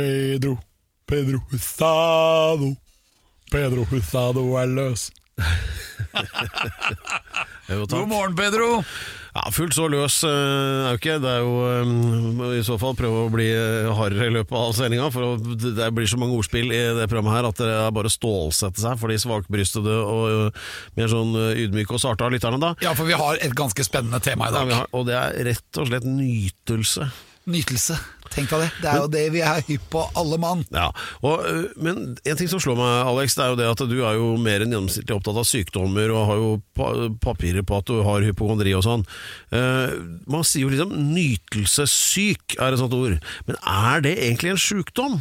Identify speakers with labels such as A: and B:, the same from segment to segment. A: Pedro, Pedro Husado. Pedro Husado er løs.
B: Jo, takk.
C: God morgen, Pedro!
B: Ja, fullt så løs eh, er jo ikke. Det er jo eh, i så fall prøve å bli eh, hardere i løpet av sendinga. For å- det blir så mange ordspill i det programmet her at det er bare å stålsette seg for de svakbrystede og eh, mer sånn eh, ydmyke og sarte av lytterne da.
C: Ja, for vi har et ganske spennende tema i
B: Ja,
C: dag.
B: vi har, og det er rett og slett nytelse.
C: Nytelse. Tenk deg det. Det er jo det vi er hypp på, alle mann.
B: Ja, og, ø, Men en ting som slår meg, Alex, det er jo det at du er jo mer enn gjennomsnittlig opptatt av sykdommer og har jo pa papirer på at du har hypokondri og sånn. Eh, man sier jo liksom nytelsessyk er et sånt ord, men er det egentlig en sjukdom?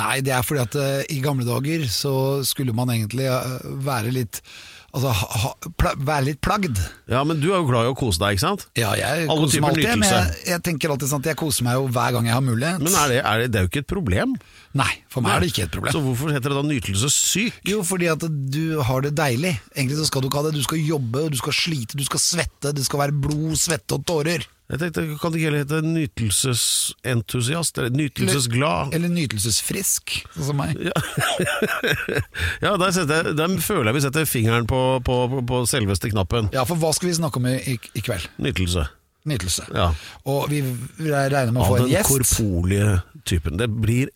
C: Nei, det er fordi at eh, i gamle dager så skulle man egentlig eh, være litt Altså ha, ha, pla, være litt plagd.
B: Ja, men du er jo glad i å kose deg, ikke sant?
C: Ja, jeg
B: Alle
C: koser meg
B: typer
C: alltid, men jeg,
B: nytelse.
C: jeg tenker alltid sånn at jeg koser meg jo hver gang jeg har mulighet.
B: Men er det, er det, det er jo ikke et problem.
C: Nei, for meg er det ikke et problem.
B: Så hvorfor heter det da nytelsessyk?
C: Jo, fordi at du har det deilig. Egentlig så skal du ikke ha det. Du skal jobbe, og du skal slite, du skal svette. Det skal være blod, svette og tårer.
B: Jeg tenkte, Kan det ikke heller hete nytelsesentusiast, eller nytelsesglad?
C: Eller nytelsesfrisk, sånn som meg.
B: Ja, ja der, setter, jeg- der føler jeg vi setter fingeren på, på, på, på selveste knappen.
C: Ja, for hva skal vi snakke om i, i, i kveld?
B: Nytelse.
C: Nytelse.
B: Ja.
C: Og vi regner med å
B: Av
C: få en
B: den
C: gjest.
B: korporlige typen. Det blir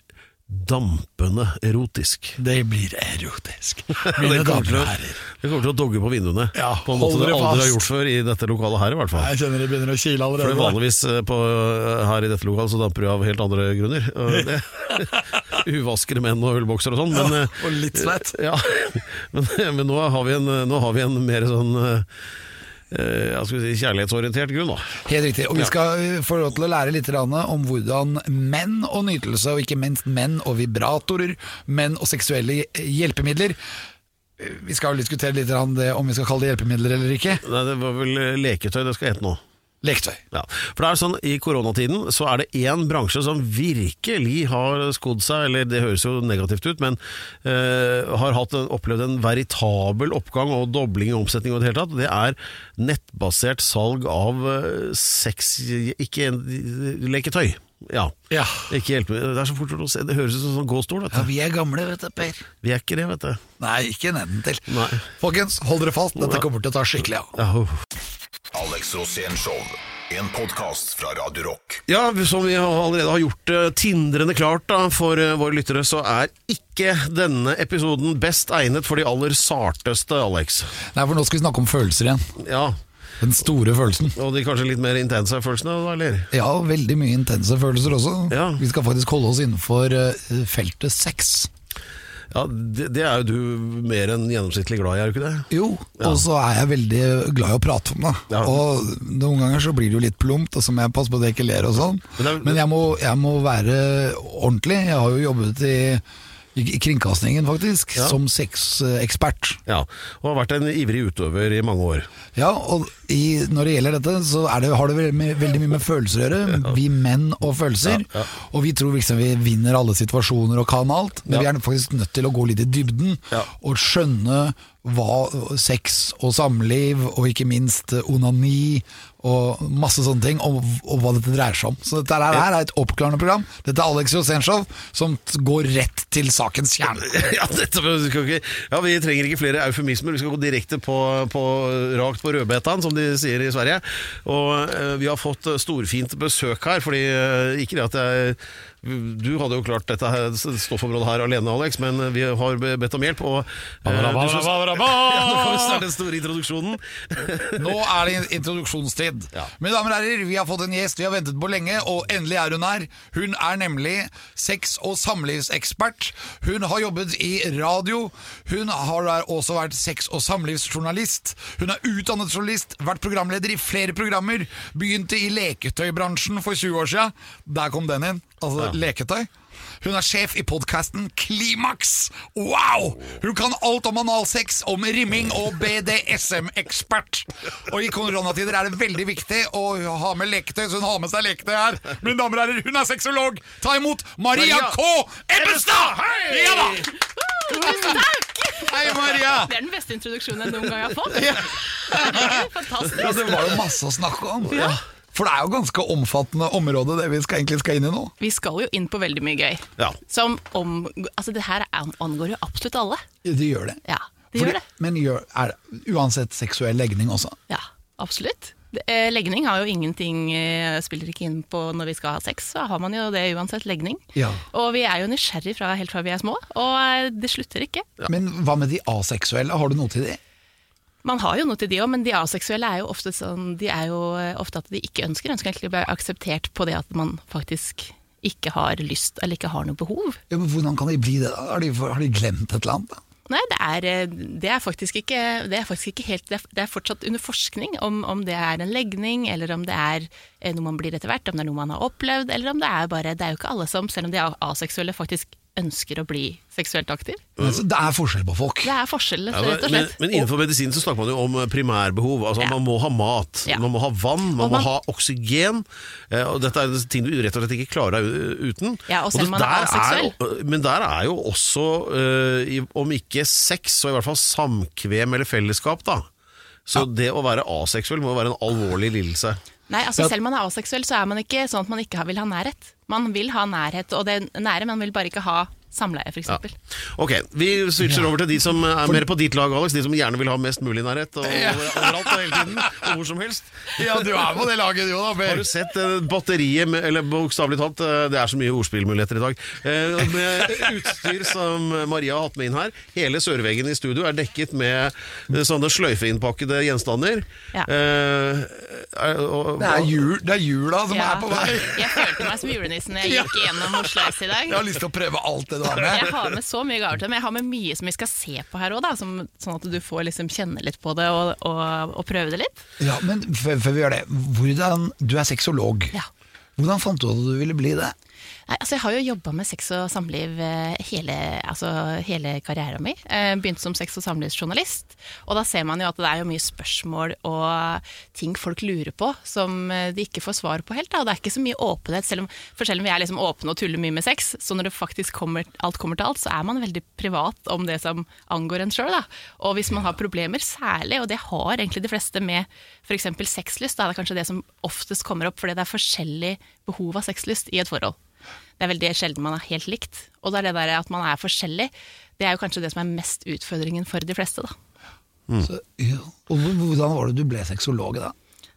B: dampende erotisk.
C: Det blir erotisk. Mine
B: Det kommer,
C: damer
B: til
C: og
B: å,
C: herrer.
B: det kommer til å dogge på vinduene.
C: Ja,
B: på en måte
A: hold
B: det
A: dere
B: aldri
A: fast.
B: har gjort før i dette lokalet her, i hvert fall.
A: Jeg kjenner det begynner å kile
B: For det er
A: allerede.
B: vanligvis eh, på, her i dette lokalet så damper det av helt andre grunner. Og det, uvaskede menn og ullbokser og sånn. Men, eh,
A: og litt svett.
B: Ja, men, eh, men nå, har vi en, nå har vi en mer sånn eh, ja, skal vi si, kjærlighetsorientert grunn, da.
C: Helt riktig. Og vi skal eh, få lov til å lære litt grann om hvordan menn og nytelse, og ikke minst menn og vibratorer, menn og seksuelle hjelpemidler Eh, Vi skal jo diskutere litt grann det om vi skal kalle det hjelpemidler eller ikke.
B: Nei, det var vel eh, leketøy det skal hete nå.
C: Leketøy.
B: Ja. For det er sånn, I koronatiden så er det én bransje som virkelig har skodd seg, eller det høres jo negativt ut, men eh, har hatt en, opplevd en veritabel oppgang og dobling i omsetning. Og det, hele tatt, og det er nettbasert salg av eh, sex... Ikke en- leketøy. Ja.
C: Ja.
B: Ikke hjelpe, det er så fort gjort å se. Det høres ut som en sånn gåstol.
C: ja,
B: Vet du.
C: vi er gamle, vet du, Per.
B: Vi er ikke det, vet du.
C: Nei, ikke neden til.
B: Nei.
C: Folkens, hold dere fast, dette kommer til å ta skikkelig av.
B: Ja, uff.
D: Alex Rosén Show. En podkast fra Radio Rock.
B: Ja, som vi allerede har gjort eh, tindrende klart da, for eh, våre lyttere, så er ikke denne episoden best egnet for de aller sarteste, Alex.
C: Nei, for nå skal vi snakke om følelser igjen.
B: Ja,
C: Den store følelsen.
B: og de kanskje litt mer intense følelsene, da, eller?
C: Ja, veldig mye intense følelser også.
B: Ja.
C: Vi skal faktisk holde oss innenfor eh, feltet sex.
B: Ja, det, det er jo du mer enn gjennomsnittlig glad i, er du ikke det?
C: Jo, og så er jeg veldig glad i å prate om det.
B: Ja.
C: Og noen ganger så blir det jo litt plumpt, og så må jeg passe på at jeg ikke ler og sånn.
B: Men det er-
C: Men jeg må, jeg må være ordentlig. Jeg har jo jobbet i, i kringkastingen, faktisk,
B: Ja.
C: som sexekspert.
B: Ja, og har vært en ivrig utøver i mange år.
C: Ja, og i, når det gjelder dette, så er det, har det veldig, mye- veldig mye med følelser å gjøre. Vi menn og følelser.
B: Ja, ja.
C: Og vi tror liksom vi vinner alle situasjoner og kan alt, men vi
B: Ja.
C: er faktisk nødt til å gå litt i dybden
B: Ja.
C: og skjønne hva sex og samliv, og ikke minst onani og masse sånne ting, og, og hva dette dreier seg om. Så dette her, her er et oppklarende program. Dette er Alex Rosenshov som t- går rett til sakens kjerne.
B: Ja, dette, vi skal ikke, ja, vi trenger ikke flere eufemismer. Vi skal gå direkte på, på rakt på rødbetaen, som de sier i Sverige. Og eh, vi har fått storfint besøk her, fordi eh, ikke det at jeg Du hadde jo klart dette her, stoffområdet her alene, Alex, men vi har bedt om hjelp. Og eh, du skal- Ja, nå kan vi starte den store introduksjonen.
C: Nå er det introduksjonstid.
B: Ja.
C: Mine damer og herrer, vi har fått en gjest vi har ventet på lenge, og endelig er hun her. Hun er nemlig sex- og samlivsekspert. Hun har jobbet i radio. Hun har der også vært sex- og samlivsjournalist. Hun er utdannet journalist, vært programleder i flere programmer. Begynte i leketøybransjen for 20 år siden. Der kom den inn. Altså leketøy. Hun er sjef i podkasten Klimaks. Wow! Hun kan alt om analsex, om rimming og BDSM-ekspert. Og i koronatider er det veldig viktig å ha med leketøy, så hun har med seg leketøy her. Mine damer og herrer, hun er sexolog. Ta imot Maria
B: Maria.
C: K. Ebbestad!
B: Hei!
C: Ja da!
E: Tusen takk!
C: Hei, Maria.
E: Det er den beste introduksjonen jeg noen gang har fått. Herregud,
C: Ja, det
E: Fantastisk.
C: var jo masse å snakke om.
E: Ja.
C: For det er jo ganske omfattende område det vi skal, egentlig skal inn i nå.
E: Vi skal jo inn på veldig mye gøy.
B: Ja.
E: Som om Altså, det her an- angår jo absolutt alle.
C: Det gjør det.
E: Ja, det
C: Fordi-
E: gjør det.
C: Men gjør, er det uansett seksuell legning også?
E: Ja, absolutt. Det- eh, Legning har jo ingenting eh, Spiller ikke inn på når vi skal ha sex, så har man jo det uansett legning.
C: Ja.
E: Og vi er jo nysgjerrig fra helt fra vi er små, og eh, det slutter ikke.
C: Men hva med de aseksuelle, har du noe til de?
E: Man har jo noe til de òg, men de aseksuelle er jo ofte sånn De er jo eh, ofte at de ikke ønsker, ønsker egentlig å bli akseptert på det at man faktisk ikke har lyst eller ikke har noe behov.
C: Ja, men hvordan kan de bli det? da? Har de, har de glemt et eller annet? da?
E: Nei, det er, eh, det er faktisk ikke Det er faktisk ikke helt Det er, det er fortsatt under forskning om, om det er en legning, eller om det er eh, noe man blir etter hvert, om det er noe man har opplevd, eller om det er bare Det er jo ikke alle som, selv om de er aseksuelle, faktisk ønsker å bli seksuelt aktiv.
B: Mm.
C: Altså, det er forskjell på folk.
E: Det er forskjellen,
B: Ja,
E: rett og
B: men,
E: slett.
B: men innenfor medisin så snakker man jo om primærbehov. Altså
E: Ja.
B: Man må ha mat,
E: Ja.
B: man må ha vann, man,
E: Og
B: må
E: man-
B: ha oksygen. eh, Og Dette er ting du rett og slett ikke klarer deg u- uten.
E: Ja, og
B: det
E: selv om man er
B: der
E: aseksuell.
B: er- eh, Men der er jo også, eh, i- om ikke sex, så i hvert fall samkvem eller felleskap, da. Så det å være aseksuell må jo være en alvorlig lidelse.
E: Nei, altså Selv om man er aseksuell, så er man ikke sånn at man ikke har- vil ha nærhet. Man vil ha nærhet, og det er nære, men man vil bare ikke ha samleie, f.eks.
B: Ja. Ok, vi switcher over til de som er mer på ditt lag, Alex. De som gjerne vil ha mest mulig nærhet. Og, overalt og hele tiden, og hvor som helst.
C: Ja, du er på det laget, jo da,
B: Har du sett eh, batteriet, med, eller bokstavelig talt, eh, det er så mye ordspillmuligheter i dag, eh, med utstyr som Maria har hatt med inn her. Hele sørveggen i studio er dekket med eh, sånne sløyfeinnpakkede gjenstander.
E: Ja.
B: Eh, er- og-
C: Det er, jul, det er jula som er
E: Ja.
C: på vei.
E: Jeg følte meg som julenissen når jeg gikk gjennom Oslo S i dag.
C: Jeg har lyst til å prøve alt det du har
E: Jeg
C: med.
E: har med så mye gaver til dem. Jeg har med mye som vi skal se på her òg, sånn at du får liksom kjenne litt på det og, og, og prøve det litt.
C: Ja, men før, før vi gjør det, hvordan, du er sexolog.
E: Ja.
C: Hvordan fant du ut at du ville bli det?
E: Nei, altså jeg har jo jobba med sex og samliv eh, hele, altså hele karrieren min. Eh, Begynte som sex- og samlivsjournalist. Og da ser man jo at det er jo mye spørsmål og ting folk lurer på som eh, de ikke får svar på helt. Da. Og det er ikke så mye åpenhet. Selv om, for selv om vi er liksom åpne og tuller mye med sex, så når det faktisk kommer, alt kommer til alt, så er man veldig privat om det som angår en sjøl. da. Og hvis man har problemer, særlig, og det har egentlig de fleste med f.eks. sexlyst, da er det kanskje det som oftest kommer opp, fordi det er forskjellig behov av sexlyst i et forhold. Det er veldig sjelden man er helt likt. Og det er det der at man er forskjellig, det er jo kanskje det som er mest utfordringen for de fleste, da.
B: Mm.
C: Så, ja. Og hvor- hvordan var det du ble sexolog, da?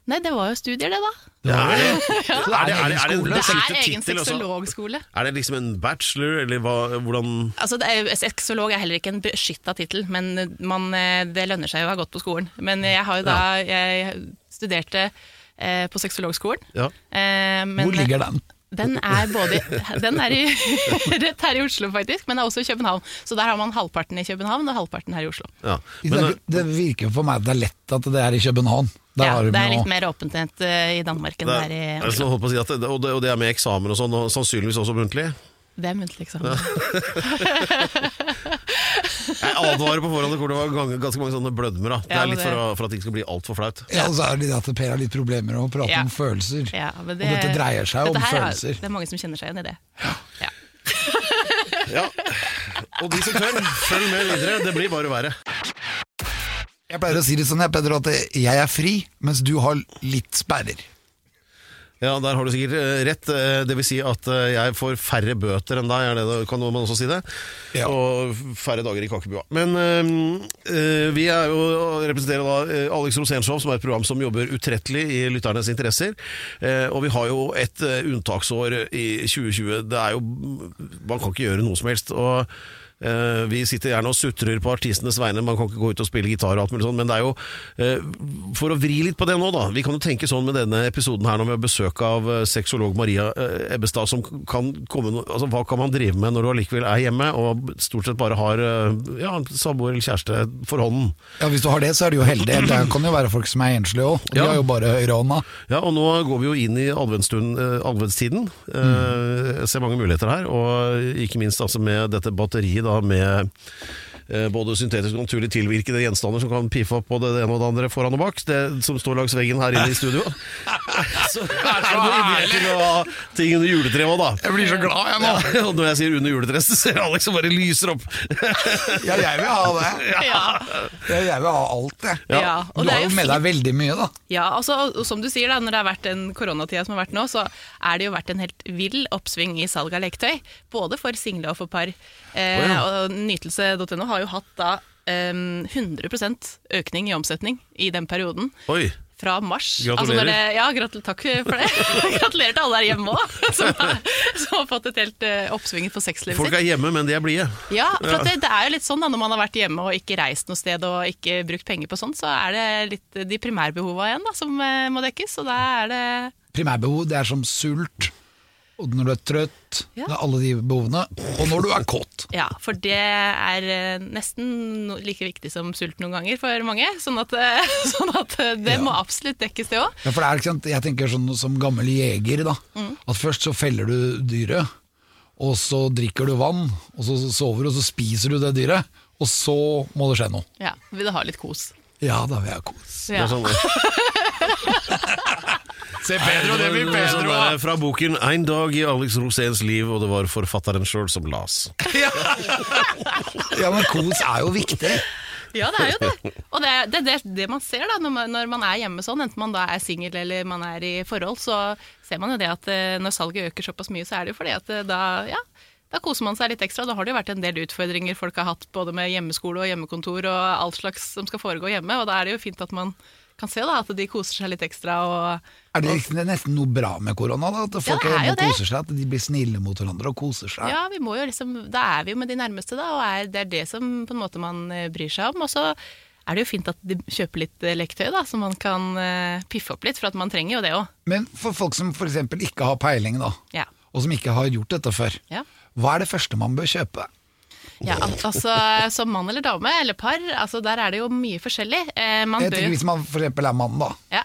E: Nei, det var jo studier, det, da.
B: Ja, er det-
C: Så
B: er det- er det- er det-
E: Det
B: Jeg tenkte
E: er egen
C: altså?
B: tittel også.
E: sexologskole.
B: Er det liksom en bachelor, eller hva, hvordan
E: Altså, det er, jo- Sexolog er heller ikke en beskytta tittel, men man, eh, det lønner seg jo å ha gått på skolen. Men jeg har jo da Jeg studerte eh, på sexologskolen.
B: Ja.
E: Eh, men-
C: Hvor ligger den?
E: Den er både Den er i, rett her i Oslo, faktisk, men er også i København. Så der har man halvparten i København og halvparten her i Oslo.
B: ja. Men, eh,
C: Det, det virker jo for meg at det er lett at det er i København. Der
E: Ja,
C: har du
E: det er
C: med å-
E: litt mer åpenhet eh, i Danmark enn det er i
B: det er- altså,
E: Oslo.
B: jeg holdt på å si at det, og, det, og det er med eksamener og sånn, og sannsynligvis også muntlig.
E: Det er muntlig eksamen.
B: Jeg advarer på forhånd hvor det var gang- ganske mange sånne blødmer. Da. Det
E: Ja,
B: er
E: men
B: litt for,
E: det-
B: å- for at det ikke skal bli altfor flaut.
C: Ja, og så er det det at Per har litt problemer med å prate
E: Ja.
C: om følelser.
E: Ja, men
C: og dette dreier seg jo om
E: dette her er-
C: følelser.
E: Det er mange som kjenner seg igjen i det. Ja.
B: Ja. Og de som tør, følg med videre. Det blir bare verre.
C: Jeg pleier å si det sånn, jeg, Peder, at jeg er fri, mens du har litt sperrer.
B: Ja, der har du sikkert eh, rett. Eh, Det vil si at eh, jeg får færre bøter enn deg, er det det, kan man også si det?
C: Ja.
B: Og færre dager i kakebua. Men eh, eh, vi er jo, representerer da eh, Alex Rosénshow, som er et program som jobber utrettelig i lytternes interesser. Eh, og vi har jo et eh, unntaksår i 2020. Det er jo Man kan ikke gjøre noe som helst. og eh, vi sitter gjerne og sutrer på artistenes vegne, man kan ikke gå ut og spille gitar og alt mulig sånt, men det er jo eh, For å vri litt på det nå, da. Vi kan jo tenke sånn med denne episoden her når vi har besøk av eh, sexolog Maria eh, Ebbestad, som kan komme no- Altså, hva kan man drive med når du allikevel er hjemme og stort sett bare har eh, ja, samboer eller kjæreste for hånden?
C: Ja, Hvis du har det, så er du jo heldig. Det kan jo være folk som er enslige òg. De
B: Ja.
C: har jo bare høyrehånda.
B: Ja, og nå går vi jo inn i adventsstund- eh, adventstiden. Eh, Jeg ser mange muligheter her, og ikke minst altså med dette batteriet da med eh, både syntetiske og naturlig tilvirkede gjenstander som kan piffe opp både det ene og det andre foran og bak, det som står langs veggen her inne i studio. Så er det noe idé til å ha ting under juletreet òg, da.
C: Jeg blir så glad, jeg nå.
B: Ja, og når jeg sier under juletreet, så ser Alex som bare lyser opp.
C: Ja, jeg vil ha det.
E: Ja.
C: Ja, jeg vil ha alt, jeg.
E: Ja. og
C: Du
E: det
C: har
E: er jo
C: jo med
E: fint.
C: deg veldig mye, da.
E: Ja, altså, og som du sier da, Når det har vært den koronatida som har vært nå, så er det jo vært en helt vill oppsving i salg av leketøy. Både for single og for par. Eh,
B: Å ja.
E: Og Nytelse.no har jo hatt da eh, 100 økning i omsetning i den perioden.
B: Oi.
E: Fra mars.
B: Gratulerer.
E: Altså, når det- ja, gratul takk for det. Gratulerer til alle der hjemme òg, som, har- som har fått et helt eh, oppsving for sexlivet sitt.
B: Folk er hjemme, men de er blide.
E: Ja, for at det, det er jo litt sånn da, når man har vært hjemme og ikke reist noe sted og ikke brukt penger på sånt, så er det litt de primærbehova igjen da, som eh, må dekkes, og da er det
C: Primærbehov, det er som sult. Og når du er trøtt.
E: Ja.
C: Det er alle de behovene. Og når du er kåt.
E: ja, for det er eh, nesten no like viktig som sult noen ganger for mange. Sånn at, eh, sånn at eh, det
C: Ja.
E: må absolutt dekkes, det òg.
C: Ja, for det er, ikke sant, jeg tenker sånn som gammel jeger, da.
E: Mm.
C: At først så feller du dyret, og så drikker du vann, og så sover du, og så spiser du det dyret. Og så må det skje noe.
E: Ja, vil du ha litt kos?
C: Ja, da vil jeg kose.
B: Det
E: Ja.
B: er sånn,
C: Se
B: sånn der Fra boken 'Ein dag i Alex Roséns liv', og det var forfatteren sjøl som las.
C: Ja. ja, men kos er jo viktig.
E: Ja, det er jo det. Og det er det, det, det man ser da, når man, når man er hjemme sånn, enten man da er singel eller man er i forhold, så ser man jo det at eh, når salget øker såpass mye, så er det jo fordi at eh, da, ja, da koser man seg litt ekstra. Da har det jo vært en del utfordringer folk har hatt både med hjemmeskole og hjemmekontor og alt slags som skal foregå hjemme, og da er det jo fint at man kan se da at de koser seg litt ekstra og
C: Er det ikke nesten noe bra med korona? da? At folk er
E: det er jo
C: hjemme og
E: det.
C: koser seg, at de blir snille mot hverandre og koser seg.
E: Ja, vi må jo liksom, da er vi jo med de nærmeste, da, og er, det er det som på en måte man eh, bryr seg om. Og så er det jo fint at de kjøper litt eh, leketøy, da, så man kan eh, piffe opp litt, for at man trenger jo det òg.
C: Men for folk som f.eks. ikke har peiling, da,
E: Ja.
C: og som ikke har gjort dette før,
E: Ja.
C: hva er det første man bør kjøpe?
E: Ja, al- altså, som mann eller dame, eller par, altså, der er det jo mye forskjellig. Eh, man
C: Jeg
E: bør
C: tenker
E: jo
C: Hvis man f.eks. er mann, da.
E: Ja.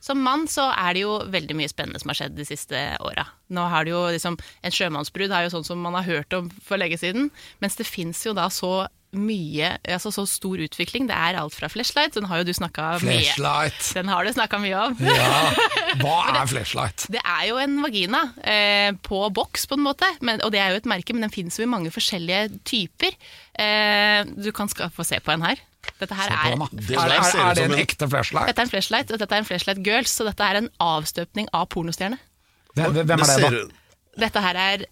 E: Som mann så er det jo veldig mye spennende som har skjedd de siste åra. Nå har det jo liksom, En sjømannsbrudd er jo sånn som man har hørt om for lenge siden, mens det fins jo da så mye, altså så stor utvikling. Det er alt fra flashlight, den har jo du snakka mye
C: Flashlight.
E: Den har du snakka mye om.
C: Ja, hva er flashlight?
E: Det er jo en vagina eh, på boks, på en måte, men, og det er jo et merke, men den finnes jo i mange forskjellige typer. Eh, du kan ska- få se på en her. Dette her
C: Se på
E: er
C: dem, da.
B: Det
C: er,
B: der
C: er,
B: ser ut
C: er det
B: som
C: en
B: en-
C: ekte flashlight?
E: Dette er en flashlight, og dette er en flashlight girls, så dette er en avstøpning av pornostjerne.
C: Hvem, hvem er det,
B: ser,
C: da?
E: Dette her er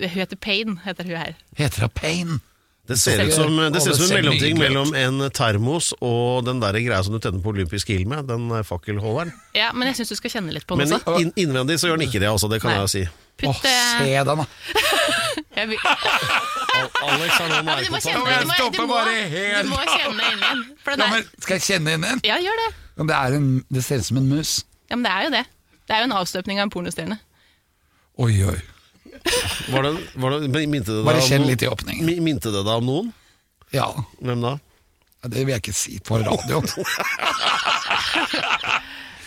E: Hun heter Pain, heter hun her.
C: Heter det Pain?
B: det ser ut som, det ser ut som en
C: Å, det ser
B: mellomting
C: nydelig ut.
B: mellom en termos og den der greia som du tenner på olympisk ild med, den eh, fakkelholderen.
E: Ja, men jeg syns du skal kjenne litt på den
B: Men
E: også.
B: inn, innvendig så gjør den ikke det, altså. Det kan
E: Nei.
B: jeg jo si.
C: Åh,
E: Putt
C: se
E: eh,
C: den, da.
E: jeg vil- Ja,
B: Alex har noen
E: men Du må kjenne
C: Jeg
E: du må- du
C: stopper
E: må-
C: bare helt.
E: Du må kjenne inn igjen. For den
C: Ja,
E: er,
C: men, skal jeg kjenne inn en?
E: ja, gjør det.
C: Ja, Det, er en, det ser ut som en mus.
E: Ja, men det er jo det. Det er jo en avstøpning av en pornostjerne.
C: Oi, oi.
B: Var det, var det, men minte det deg
C: Bare
B: om
C: kjenn
B: noen-
C: litt i åpningen.
B: mi- Minte det deg om noen?
C: Ja,
B: Hvem da?
C: det vil jeg ikke si på radio.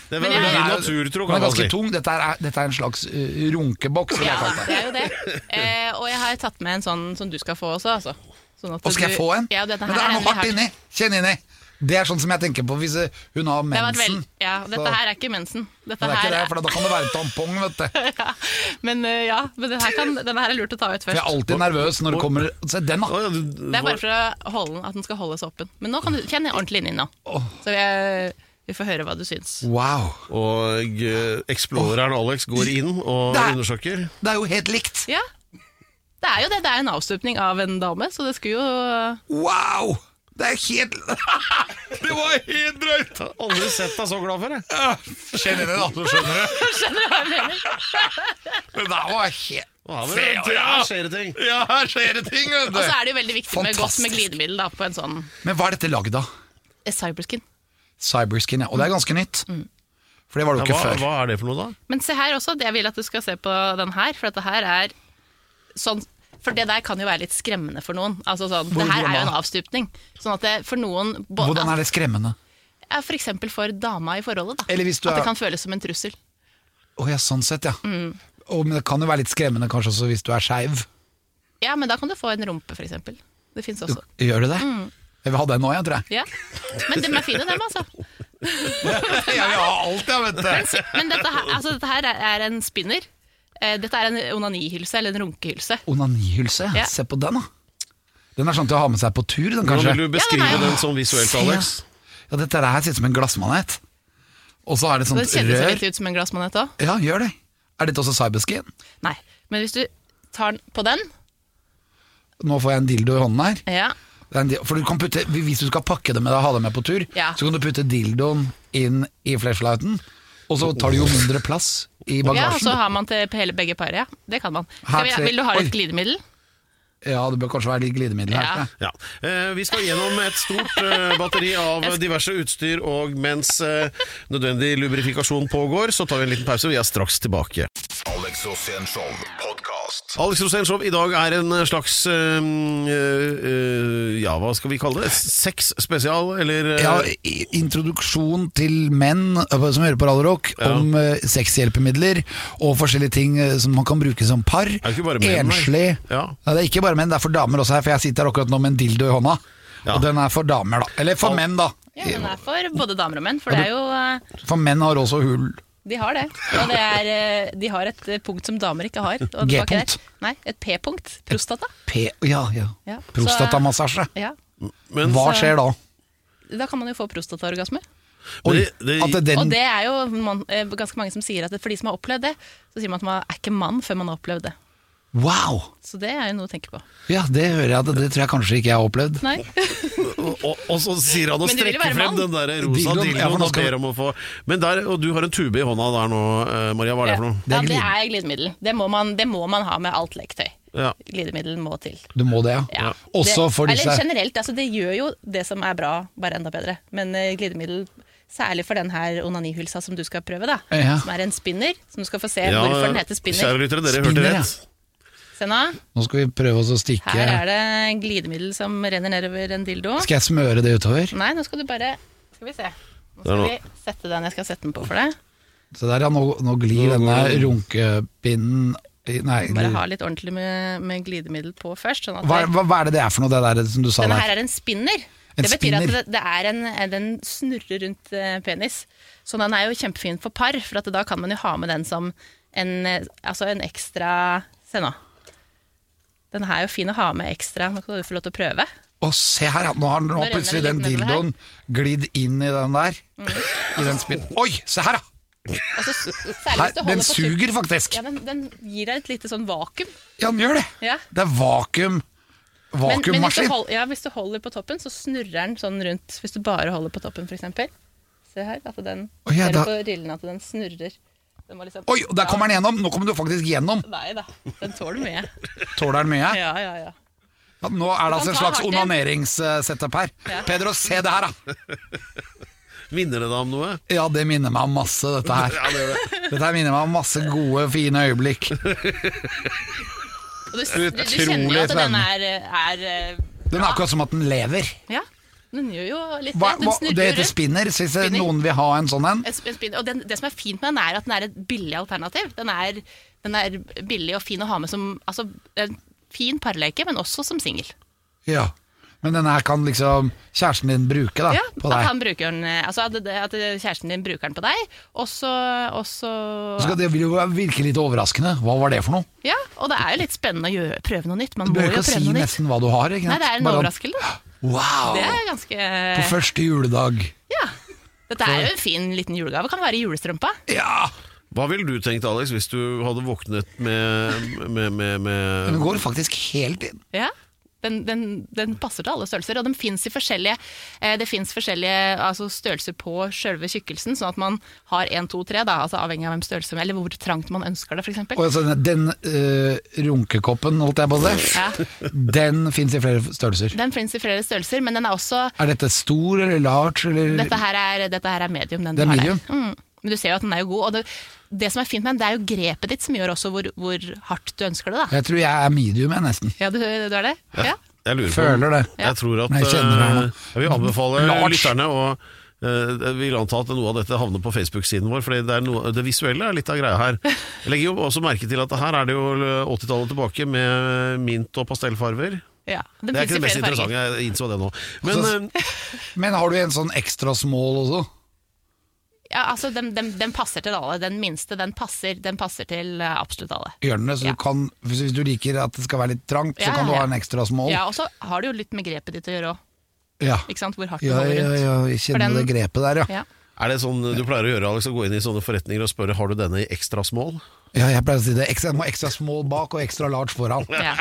B: Det var
E: Men jeg-
B: veldig
C: Den er-
B: naturtro,
C: den
B: kan
C: er
B: man
C: ganske
B: si.
C: tung. Dette er, dette er en slags eh, runkeboks. vil jeg
E: Ja,
C: kalle det.
E: det er jo det. Eh, og jeg har tatt med en sånn som du skal få også, altså. Sånn at
C: Og skal jeg
E: du-
C: få en?
E: Ja, denne
C: Men
E: her
C: det er
E: den
C: noe
E: vi
C: hardt
E: har-
C: inni. Kjenn inni. Det er sånn som jeg tenker på hvis eh, hun har
E: Det var et
C: mensen.
E: vel, ja, dette
C: Så-
E: her er ikke mensen. Dette
C: Men det er
E: her
C: ikke det,
E: er,
C: for da kan det være en tampong, vet du.
E: men eh, ja, men denne her, kan, denne her er lurt å ta ut
C: For jeg er
E: først.
C: alltid nervøs når det kommer Se den, da!
B: Å, ja, du,
E: Det er bare for å holde den, at den skal holdes åpen. Men nå kan du kjenne ordentlig inn i den nå. Så vi, eh, vi får høre hva du syns.
C: Wow.
B: Og eh, eksploreren Alex går inn og
C: Der.
B: undersøker.
C: Det er jo helt likt!
E: Ja. Det er jo det. Det er en avstøpning av en dame, så det skulle jo
C: Wow! Det er helt Det var helt drøyt!
B: Jeg har aldri sett deg så glad for det.
C: Kjenn inni, da, så skjønner du.
E: Skjønner du hva jeg mener?
C: Det der var helt
B: Å, her, var
C: Se,
B: det-
C: ja.
B: her skjer det ting.
C: Ja, her skjer det ting, vet
E: Og så er det jo veldig viktig med godt med
C: Fantastisk.
E: glidemiddel da, på en sånn
C: Men hva er dette lagd av?
E: eh, cyberskin.
C: Cyberskin, ja. Og det er ganske nytt.
E: Mm.
C: For det var det
B: Ja,
C: jo ikke
B: hva,
C: før.
B: hva er det for noe, da?
E: Men se her også, jeg vil at du skal se på den her, for dette her er sånn for det der kan jo være litt skremmende for noen. Altså sånn, det her er jo en avstupning. Sånn at det, for noen bo-
C: Hvordan er det skremmende?
E: er for eksempel for dama i forholdet, da.
C: Eller hvis du
E: at
C: er-
E: det kan føles som en trussel.
C: Å ja, sånn sett, ja.
E: Mm.
C: Å, men det kan jo være litt skremmende kanskje også hvis du er skeiv.
E: Ja, men da kan du få en rumpe, for eksempel. Det fins også.
C: Gjør du det?
E: Mm.
C: Jeg vil ha den nå, jeg, tror jeg.
E: Ja. Men de er fine, dem, altså.
C: Jeg vil ha alt, jeg, vet du.
E: Men dette her, altså, dette her er en spinner. Eh, Dette er en onanihylse, eller en runkehylse.
C: Onanihylse,
E: Ja.
C: se på den, da. Den er sånn til å ha med seg på tur, den kanskje.
B: Hvordan vil du beskrive
E: Ja, den er-
B: den sånn visuelt, Alex?
C: Ja, dette her ser ut som en glassmanet. Og så er det et
E: Det
C: sånt
E: kjennes jo
C: rør.
E: litt ut som en glassmanet òg.
C: Ja, gjør det. Er dette også cyberskin?
E: Nei. Men hvis du tar den på den
C: Nå får jeg en dildo i hånden her.
E: ja.
C: Det er en di- For du kan putte, Hvis du skal pakke det med deg og ha det med på tur,
E: Ja.
C: så kan du putte dildoen inn i flashlighten, og så tar det jo mindre plass i
E: ja, og så
C: bagasjen.
E: har man til hele begge par. Ja. Det kan man.
C: Her
E: Skal vi,
C: tre-
E: vil du ha
C: Oi.
E: litt glidemiddel?
C: Ja, det bør kanskje være litt glidemiddel her.
E: Ja.
C: tror jeg.
B: Ja. Eh, vi skal gjennom et stort eh, batteri av diverse utstyr, og mens eh, nødvendig lubrifikasjon pågår, så tar vi en liten pause. Vi er straks tilbake.
D: Alex Rosénshow podkast.
B: Alex Rosenshov, i dag er en slags eh, eh, Ja, hva skal vi kalle det? Sex spesial, eller eh,
C: Ja, i- introduksjon til menn eh, som hører på Rallorock,
B: Ja.
C: om eh, sexhjelpemidler og forskjellige ting eh, som man kan bruke som par.
B: er jo ikke bare menn, nei.
C: Enslig.
B: Ja.
C: Nei, det er ikke bare menn, det er for damer også her, for jeg sitter akkurat nå med en dildo i hånda.
B: Ja.
C: Og den er for damer, da. Eller for menn, da.
E: Ja, den er for både damer og menn, for det er jo eh,
C: For menn har også hull.
E: De har det. Og det er, eh, de har et eh, punkt som damer ikke har. og det var ikke
C: G-punkt.
E: der. Nei, et P-punkt. Prostata.
C: P... Ja, ja.
E: Ja. eh,
C: Prostatamassasje.
E: Ja.
B: men,
C: Hva
E: så-
C: skjer da?
E: Da kan man jo få prostataorgasme.
B: men
C: Oi,
B: det, det,
C: at den
E: Og det er jo man, eh, ganske mange som sier at det, for de som har opplevd det, så sier man at man er ikke mann før man har opplevd det.
C: Wow!
E: Så det er jo noe å tenke på.
C: Ja, det hører jeg. Det, det tror jeg kanskje ikke jeg har opplevd.
E: Nei.
B: og, og så sier han å
E: Men det vil jo
B: strekke
E: være
B: frem
E: mann.
B: den der rosa
C: Dildoen, ja, for
B: dildoen
C: nå
B: og
C: skal vi-
B: ber om å få Men der, Og du har en tube i hånda der nå, eh, Maria. Hva er det for noe?
C: Det
E: Ja,
C: er
E: det
C: glidemiddel.
E: er glidemiddel. Det må man, det må man ha med alt lektøy.
B: Ja.
E: Glidemiddel må til.
C: Du må det, ja.
E: Ja.
C: Også
E: det,
C: for disse
E: Eller generelt, altså det gjør jo det som er bra, bare enda bedre. Men eh, glidemiddel, særlig for den her onanihylsa som du skal prøve, da.
C: Ja.
E: Som er en spinner, som du skal få se
B: Ja,
E: hvorfor den heter
B: Kjære
E: spinner.
B: lyttere, dere
C: Spinner,
B: hørte
C: ja.
B: rett.
E: Se nå,
C: Nå skal vi prøve oss å stikke
E: her er det glidemiddel som renner nedover en dildo.
C: Skal jeg smøre det utover?
E: Nei, nå skal du bare Skal vi se.
B: Der
E: Nå skal
B: nå.
E: vi sette den jeg skal sette den på for deg.
C: Så der, ja, nå, nå glir denne runkepinnen i- Nei,
E: Bare
C: glir-
E: ha litt ordentlig med, med glidemiddel på først. Sånn at
C: hva,
E: det-
C: hva, hva er det det er for noe, det der som du sa
E: Denne
C: der?
E: her er en spinner.
C: En
E: det betyr
C: spinner.
E: at det, det er en, den snurrer rundt eh, penis. Så den er jo kjempefin for par, for at da kan man jo ha med den som en, eh, altså en ekstra Se nå. Den her er jo fin å ha med ekstra. Nå skal du få lov til å prøve.
C: Å, se her, ja. nå har nå
E: renner
C: plutselig
E: det
C: den
E: litt nedover
C: dildoen glidd inn i den der.
E: Mm.
C: I den spin... Oi, se her, ja!
E: Og så, særlig
C: Her,
E: hvis du holder
C: den
E: på
C: suger
E: tuppen.
C: faktisk.
E: Ja, den, den gir deg et lite sånn vakuum.
C: Ja, den gjør det.
E: Ja.
C: Det er vakuum.
E: Men, men hvis, du
C: Vakuummaskin.
E: hold, ja, hvis du holder på toppen, så snurrer den sånn rundt. Hvis du bare holder på toppen, f.eks. Se her, at den
C: Å, ja,
E: ser
C: da-
E: du på rillen at den snurrer. Den må liksom,
C: Oi, der kommer den gjennom! Nå kommer du faktisk gjennom.
E: Nei da, den tåler mye.
C: Tåler den mye?
E: Ja, ja, ja.
C: Ja, nå er det altså en
E: Du kan ta
C: slags
E: hardt igjen.
C: onaneringssetup her.
E: Ja.
C: Pedro, se det her, da!
B: Minner det deg om noe?
C: Ja, det minner meg om masse, dette her.
B: Ja, det gjør det.
C: Dette her minner meg om masse gode, fine øyeblikk.
E: Og du, du, du kjenner jo
C: Utrolig
E: at den er, er eh,
C: Den er akkurat som at den lever.
E: Ja, den gjør jo litt
C: Hva,
E: det.
C: hva,
E: Den snurrer
C: det heter
E: rundt.
C: spinner, så hvis det-
E: Spinning.
C: noen vil ha en sånn en
E: En sp- en spin- Og den, det som er fint med den, er at den er et billig alternativ. Den er, den er billig og fin å ha med som altså, en fin parleke, men også som singel.
C: Ja. Men denne her kan liksom kjæresten din bruke, da.
E: Ja,
C: på
E: at,
C: deg.
E: han bruker den, eh, altså, at, det- at kjæresten din bruker den på deg, og så og så-
C: Så skal det vil jo virke litt overraskende. Hva var det for noe?
E: Ja, og det er jo litt spennende å gjøre, prøve noe nytt. Man
C: Du
E: må
C: behøver ikke
E: jo
C: å
E: prøve
C: si
E: noe nytt.
C: nesten hva du har. Ikke?
E: Nei,
C: sant?
E: det er en
C: Bare-
E: overraskelse. Eh.
C: Wow!
E: Det er ganske
C: På første juledag.
E: Ja. Dette er jo en fin liten julegave. Kan være i julestrømpa.
C: Ja!
B: Hva ville du tenkt, Alex, hvis du hadde våknet med, med, med, med
C: Den går faktisk helt inn.
E: Ja. Den, den, den passer til alle størrelser, og den finnes i forskjellige, eh, det fins forskjellige altså størrelser på sjølve tykkelsen, sånn at man har én, to, tre, da, altså avhengig av hvem størrelse Eller hvor trangt man ønsker
C: Og
E: det, f.eks.
C: altså, den eh, runkekoppen, holdt jeg på å si,
E: Ja.
C: den fins i flere størrelser.
E: Den fins i flere størrelser, men den er også
C: Er dette stor eller large? Eller?
E: Dette her er, dette her er medium, den
C: Det er
E: du har
C: medium.
E: der. Mm. Men du ser jo at den er jo god. Og det, det som er fint med den, det er jo grepet ditt som gjør også hvor, hvor hardt du ønsker det, da.
C: Jeg tror jeg er medium, jeg, nesten.
E: Ja, du, du er det? Ja.
B: Jeg lurer på
C: Føler det.
B: Jeg tror at
C: Nei, jeg kjenner det her nå.
B: eh, Jeg vil anbefale
C: Lars.
B: lytterne å eh, jeg vil anta at noe av dette havner på Facebook-siden vår, for det, er noe- det visuelle er litt av greia her. eh, Jeg legger jo også merke til at her er det jo 80-tallet tilbake med mint og pastellfarver.
E: Ja,
B: Det er ikke det mest interessante, jeg innså det nå. Men
C: Altså,
B: eh,
C: Men har du en sånn ekstra small også?
E: Ja, altså, den, den, den passer til alle. Den minste, den passer, den passer til eh, absolutt alle.
C: Gjør den det, så
E: Ja.
C: du kan, hvis hvis du liker at det skal være litt trangt,
E: Ja,
C: så kan du
E: ja.
C: ha en ekstra small.
E: Ja, Og så har det jo litt med grepet ditt å gjøre òg.
C: ja.
E: Ikke sant? Hvor hardt du
C: Ja,
E: holder
C: ja,
E: rundt.
C: ja, jeg
E: For
C: kjenner
E: den-
C: det grepet der, ja.
E: Ja.
B: er det sånn du pleier å gjøre, Alex, å gå inn i sånne forretninger og spørre har du denne i extra small?
C: ja. Jeg pleier å si det. Ekstra, må ekstra small bak og ekstra large foran.
E: Ja.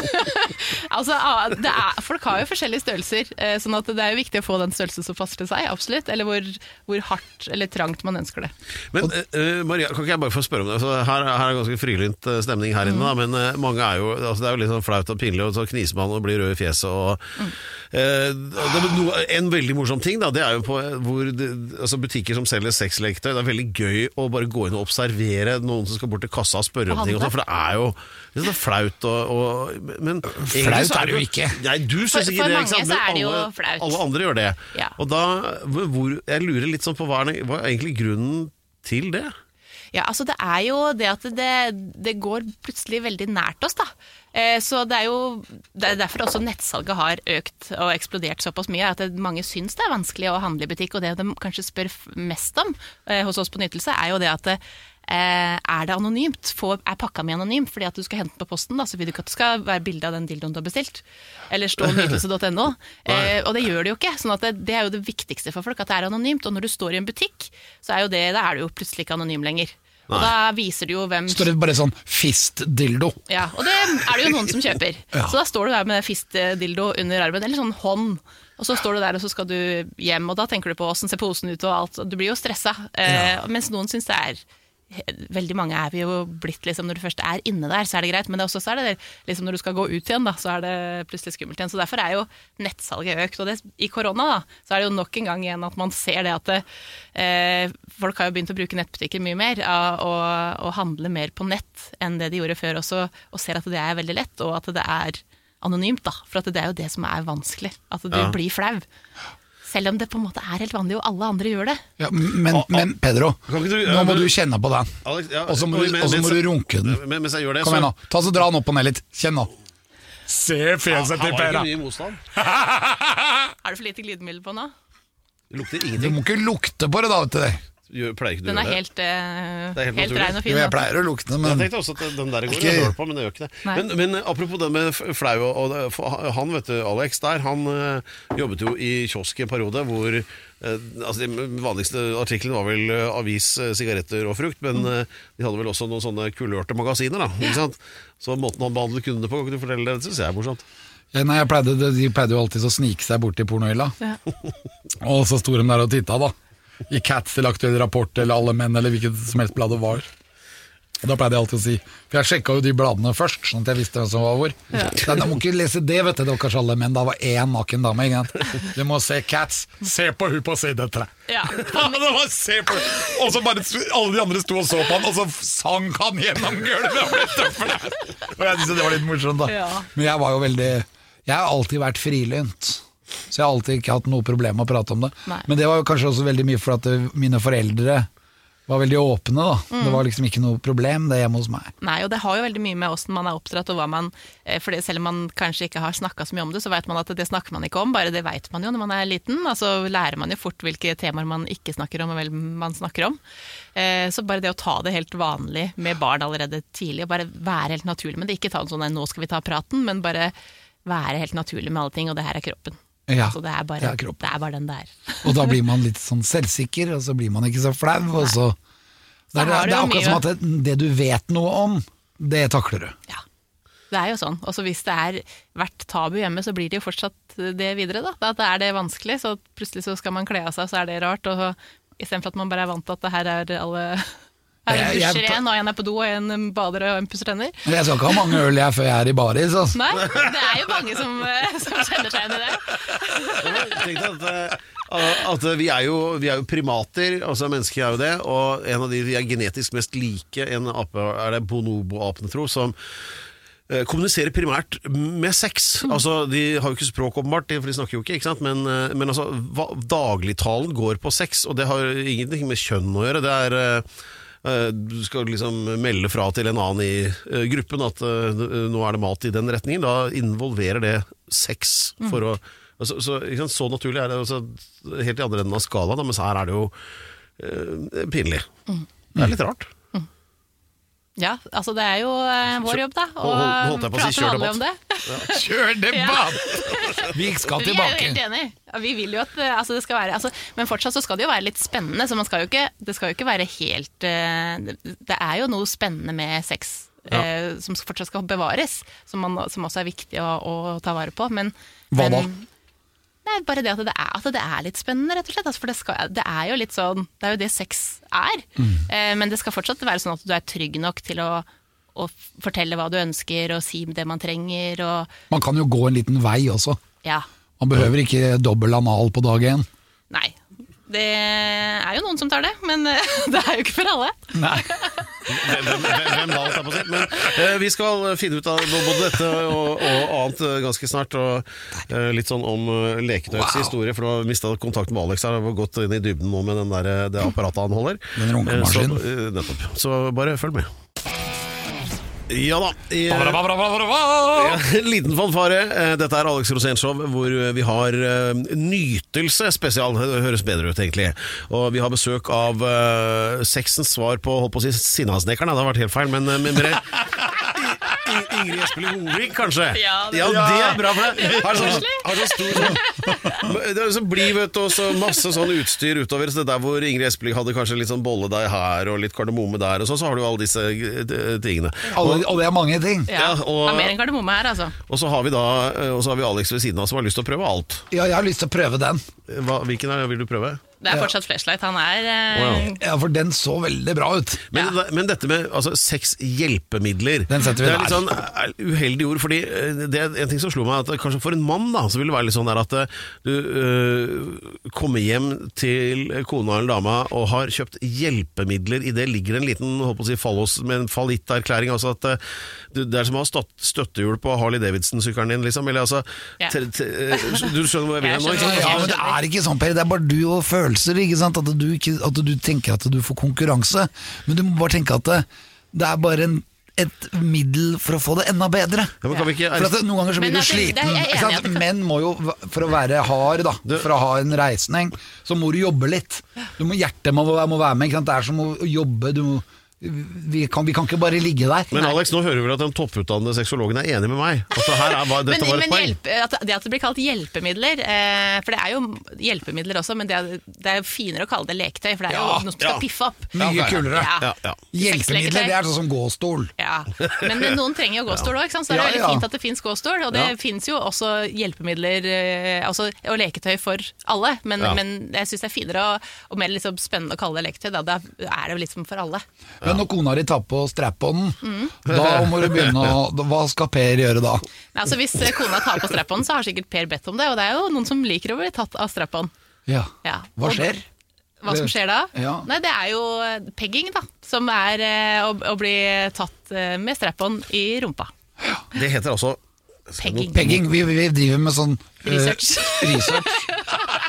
E: altså, ah, det er, folk har jo forskjellige størrelser, eh, sånn at det er jo viktig å få den størrelsen som passer til seg, absolutt. Eller hvor, hvor hardt eller trangt man ønsker det.
B: Men eh, eh, Maria, kan ikke jeg bare få spørre om det? Altså, her, her er det ganske frilynt eh, stemning her
E: Mm.
B: inne, da, men eh, mange er jo altså, Det er jo litt sånn flaut og pinlig, og så kniser man og blir rød i fjeset og
E: Mm.
B: eh, og det, er noe, En veldig morsom ting, da, det er jo på eh, hvor det, altså, butikker som selger sexleketøy. Det er veldig gøy å bare gå inn og observere noen som skal bort til kassa og spørre om ting, og sånn, for det er jo litt sånn flaut og, og Men egentlig så
C: er det jo ikke.
B: Nei, du
E: For-
B: syns
E: for
B: ikke det,
E: mange
B: ikke sant?
E: så er
B: Men
E: det jo
B: alle-
E: flaut.
B: Alle andre gjør det.
E: Ja.
B: Og da, hvor, jeg lurer litt sånn på hva er, det- hva er egentlig grunnen til det?
E: Ja, altså det er jo det at det, det går plutselig veldig nært oss, da. Eh, så det er jo det er derfor også nettsalget har økt og eksplodert såpass mye. At det, mange syns det er vanskelig å handle i butikk, og det de kanskje spør f- mest om eh, hos oss på Nytelse, er jo det at eh, er det anonymt? Få, er pakka mi anonym? Fordi at du skal hente den på posten, da, så vil du ikke at det skal være bilde av den dildoen du har bestilt. Eller stå nytelse.no. Eh, og det gjør det jo ikke. sånn at det, det er jo det viktigste for folk, at det er anonymt. Og når du står i en butikk, så er jo det, da er du jo plutselig ikke anonym lenger. Og da viser du jo hvem
C: Står det bare sånn fist-dildo?
E: ja, Og det er det jo noen som kjøper. Så da står du der med fistdildo under armen, eller sånn hånd. Og så står du der og så skal du hjem, og da tenker du på åssen ser posen ut og alt. og Du blir jo stressa. Eh, Mens noen syns det er Veldig mange er vi jo blitt liksom Når du først er inne der, så er det greit, men det er også så er det liksom når du skal gå ut igjen, da, så er det plutselig skummelt igjen. Så derfor er jo nettsalget økt. Og det, i korona da, så er det jo nok en gang igjen at man ser det at det, eh, folk har jo begynt å bruke nettbutikker mye mer ja, og, og handle mer på nett enn det de gjorde før også, og ser at det er veldig lett, og at det er anonymt, da. For at det er jo det som er vanskelig. At du
B: Ja.
E: blir flau. Selv om det på en måte er helt vanlig, og alle andre gjør det.
C: Ja, men, men Pedro,
B: Kan ikke du-
C: nå må
B: men-
C: du kjenne på den.
B: Alex, ja,
C: Og så må,
B: oi,
C: du-
B: men-
C: og så må
B: men-
C: du runke den.
B: Men, mens jeg gjør det,
C: Kom igjen nå.
B: så
C: Ta så Dra den opp og ned litt. Kjenn nå.
A: Se
B: Han
A: fjeset
B: har
A: til Per,
B: ikke
A: da.
B: mye motstand.
E: Er det for lite glidemiddel på nå?
B: Det lukter
C: Du
B: ingenting.
C: må ikke lukte på det, da. vet du det.
B: Gjør- Pleier ikke du å
E: Den
B: gjøre
E: er
B: det?
E: helt, eh,
B: Det er helt
E: helt
B: naturlig.
E: rein og
C: Jo,
E: fin.
C: jeg
E: da.
C: pleier å lukte den,
B: Jeg
C: men
B: tenkte også at den der går
C: Ikke-
B: jeg dårlig på, men det gjør ikke det.
E: Nei.
B: Men, men apropos det med f- flau og, og det- for Han vet du, Alex der, han eh, jobbet jo i kiosk i en periode hvor eh, altså De vanligste artiklene var vel eh, avis, eh, sigaretter og frukt, men eh, de hadde vel også noen sånne kulørte magasiner, da. Ikke sant? Så måten han behandlet kundene på, kan du fortelle det? Det syns jeg er morsomt.
C: Ja, Nei, jeg pleide, de- De pleide jo alltid å snike seg bort til pornohylla. Og så sto de der og titta, da. I Cats eller Aktuell Rapport eller Alle menn eller hvilket som helst blad det var. Og Da pleide jeg alltid å si For jeg sjekka jo de bladene først, sånn at jeg visste hvem som var hvor. Nei, da må ikke lese det, vet du. Det var kanskje Alle menn. Da var én naken dame. Ikke sant? Du må se Cats.
A: Se på hun på side tre.
E: Ja.
A: Han bare se på Og så bare alle de andre sto og så på han, og så sank han gjennom gulvet og ble tøffel.
C: Og jeg syntes det var litt morsomt, da.
E: Ja.
C: Men jeg var jo veldig Jeg har alltid vært frilynt. Så jeg har alltid ikke hatt noe problem med å prate om det.
E: Nei.
C: Men det var jo kanskje også veldig mye for at eh, mine foreldre var veldig åpne, da.
E: Mm.
C: Det var liksom ikke noe problem, det hjemme hos meg.
E: Nei, og det har jo veldig mye med åssen man er oppdratt og hva man eh, For det- selv om man kanskje ikke har snakka så mye om det, så veit man at det snakker man ikke om, bare det veit man jo når man er liten. Altså lærer man jo fort hvilke temaer man ikke snakker om, og vel man snakker om. Eh, Så bare det å ta det helt vanlig med barn allerede tidlig, og bare være helt naturlig med det. Ikke ta en sånn nei, nå skal vi ta praten, men bare være helt naturlig med alle ting, og det her er kroppen.
C: Ja,
E: så det er, bare,
C: det er kroppen.
E: det er bare den det er.
C: Og da blir man litt sånn selvsikker, og så blir man ikke så flau, og så Det
E: Så
C: er, det
E: har du
C: er
E: jo
C: akkurat
E: mye-
C: som at det, det du vet noe om, det takler du.
E: Ja, det er jo sånn. Og så hvis det er vært tabu hjemme, så blir det jo fortsatt det videre, da. Da er det vanskelig, så plutselig så skal man kle av seg, så er det rart. Og så- istedenfor at man bare er vant til at det her er alle her er
C: Jeg- jeg-
E: dusjer en, og en er på do, og en bader, og en pusser tenner.
C: Men Jeg skal ikke ha mange øl jeg før jeg er i baris. Altså.
E: Nei, det er jo mange som, eh, som kjenner seg igjen i det.
B: Tenk deg at, eh, at vi, er jo, vi er jo primater, altså mennesker er jo det, og en av de vi er genetisk mest like, en ape, er det bonobo-apen, tro, som eh, kommuniserer primært med sex. Altså, De har jo ikke språk, åpenbart, for de snakker jo ikke, ikke sant? men, eh, men altså, hva, dagligtalen går på sex, og det har ingenting med kjønn å gjøre. Det er eh, eh, du skal liksom melde fra til en annen i eh, gruppen at eh, nå er det mat i den retningen, da involverer det sex for å altså, så, ikke sant, så naturlig er det altså, helt i andre enden av skalaen, da, mens her er det jo eh, pinlig. Det er litt rart.
E: Ja, altså det er jo eh, vår jobb, da. Å
B: Hold- holdt jeg på å si
E: prate
B: kjør
E: vanlig om det.
C: Kjør debatt! Vi skal
E: Vi er jo
C: tilbake.
E: helt enig. Ja, Vi vil jo at eh, altså, det skal være altså, Men fortsatt så skal det jo være litt spennende, så man skal jo ikke, det skal jo ikke være helt eh, Det er jo noe spennende med sex eh, som fortsatt skal bevares, som, man, som også er viktig å, å ta vare på. Men,
C: Hva da?
E: men Nei, bare det at det, er, at det er litt spennende, rett og slett. Altså, for det, skal, det er jo litt sånn Det er jo det sex er.
C: Mm.
E: Eh, men det skal fortsatt være sånn at du er trygg nok til å, å fortelle hva du ønsker, og si det man trenger, og
C: Man kan jo gå en liten vei også.
E: ja.
C: Man behøver ikke dobbel anal på dag én.
E: Nei. Det er jo noen som tar det, men eh, det er jo ikke for alle.
B: Hvem, hvem, hvem- hvem da, holdt jeg på å si. Men eh, vi skal finne ut av både dette og, og annet eh, ganske snart. Og eh, litt sånn om eh, leketøyets
C: Wow.
B: historie, for du har mista kontakten med Alex her. og har gått inn i dybden nå med den der, eh, det apparatet han holder.
C: Den runkemaskinen.
B: Eh, så, eh, nettopp. Så bare følg med. Ja da. I,
C: Ba-ba-ba-ba-ba-ba.
B: en liten fanfare. Eh, Dette er Alex Rosénshow, hvor eh, vi har eh, nytelse spesial. Det høres bedre ut, egentlig. Og vi har besøk av eh, sexens svar på holdt på å si Sinnasnekkeren. Det har vært helt feil, men eh, med mer I- I- Ingrid Espelid Hovig, kanskje?
E: Ja, det-
B: ja, det er bra for deg! Har sånn, har sånn stor sånn Det er så blid, vet du, og så masse sånn utstyr utover. Så det der hvor Ingrid Espelid hadde kanskje litt sånn bolledeig her og litt kardemomme der, og sånn, så, så har du jo alle disse eh, tingene.
C: Alle, og det er mange ting.
E: Ja,
B: Ja, og-
E: og... Mer enn kardemomme her, altså.
B: Og så har vi da eh, Og så har vi Alex ved siden av som har lyst til å prøve alt.
C: Ja, jeg har lyst til å prøve den.
B: Hva, hvilken er, vil du prøve?
E: Det er fortsatt flashlight. Han er eh,
B: Wow.
C: Ja, For den så veldig bra ut.
B: Men, men dette med altså, sexhjelpemidler
C: Den setter vi
B: Det er litt
C: der.
B: sånn eh, uheldig ord, fordi eh, det er en ting som slo meg, at kanskje for en mann da, så vil det være litt sånn der at eh, du eh, kommer hjem til kona eller dama og har kjøpt hjelpemidler, i det ligger en liten holdt på å si, fallos med en fallitterklæring. Altså at eh, du, det er som å ha støtt, støttehjul på Harley Davidson-sykkelen din, liksom. Eller altså
E: Ja.
B: te, te, eh, Du skjønner hvor jeg vil
E: Jeg
B: hen nå? ikke
E: skjønner
B: sant?
E: hva
C: Ja, men det er ikke sånn, Per. Det er bare du og følelser. ikke sant? At du, ikke, at du tenker at du får konkurranse. Men du må bare tenke at det, det er bare en, et middel for å få det enda bedre.
B: Ja, men kan vi ikke
C: For at det, Noen ganger så
E: Men
C: blir du
E: at det- det er
C: sliten.
E: jeg enig i
C: ikke
E: at
C: sant?
E: det kan-
C: Menn må jo, for å være hard, da, for å ha en reisning, så må du jobbe litt. Du må, hjertet må, være- må være med. ikke sant? Det er som å jobbe. Du må, vi, kan, vi kan ikke bare ligge der.
B: Men Alex, nå hører vi vel at den topputdannede sexologen er enig med meg. Altså, her er, hva- dette
E: men,
B: var et
E: men
B: poeng.
E: hjelp, at det at det blir kalt hjelpemidler eh, For det er jo hjelpemidler også, men det er, det er jo finere å kalle det leketøy, for det er jo
C: Ja,
E: noe som skal
B: ja.
E: piffe opp.
C: Mye kulere.
B: Ja, ja.
C: Hjelpemidler, det er sånn som gåstol.
E: Ja, Men noen trenger jo gåstol òg, så det er
C: Ja,
E: veldig
C: ja.
E: fint at det fins gåstol. Og det
B: Ja.
E: fins jo også hjelpemidler eh, altså, og leketøy for alle, men,
B: Ja.
E: men jeg syns det er finere og, og mer liksom spennende å kalle det leketøy. Da, da er det jo liksom for alle.
C: Men når kona di tar på strap-on,
E: Mm.
C: da må du begynne å da- Hva skal Per gjøre da?
E: Nei, altså, hvis eh, kona tar på strap-on, så har sikkert Per bedt om det, og det er jo noen som liker å bli tatt av strap-on.
C: Ja.
E: Ja.
C: Hva skjer?
E: Hva som skjer da?
C: Ja.
E: Nei, det er jo eh, pegging, da. Som er eh, å, å bli tatt eh, med strap-on i rumpa.
B: Det heter altså
E: Pegging.
C: Pegging. Vi, vi driver med sånn eh,
E: Research.
C: research.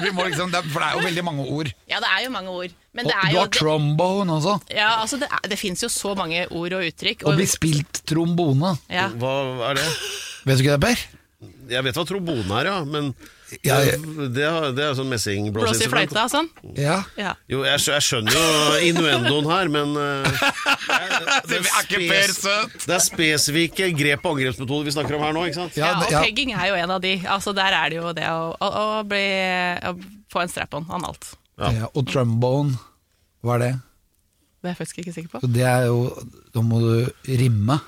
C: Vi må liksom, det er- for det er jo veldig mange ord.
E: Ja, det er jo mange ord. Men
C: Og
E: det er
C: du
E: jo
C: har trombone også.
E: Ja, altså det, er, det finnes jo så mange ord og uttrykk.
C: Og blir spilt trombone.
E: ja.
B: Hva er det?
C: Vet du ikke det, Per?
B: Jeg vet hva trombone er, ja, men
C: Ja, jeg-
B: det, det er sånn
E: Blås i
B: messingblåseinstrument.
E: fløyta og sånn.
C: Ja.
E: Ja.
B: Jo, jeg, skjø- jeg skjønner jo innuendoen her, men eh, det,
A: Det er ikke Per søt.
B: det er spesifikke grep og angrepsmetoder vi snakker om her nå, ikke sant?
E: Ja,
C: Ja,
E: og
C: det- ja.
E: pegging er jo en av de. Altså Der er det jo det å, å, å, bli, å få en strap-on analt.
C: ja. Og trombone, hva er det?
E: Det er jeg faktisk ikke sikker på.
C: Så det er jo Da må du rimme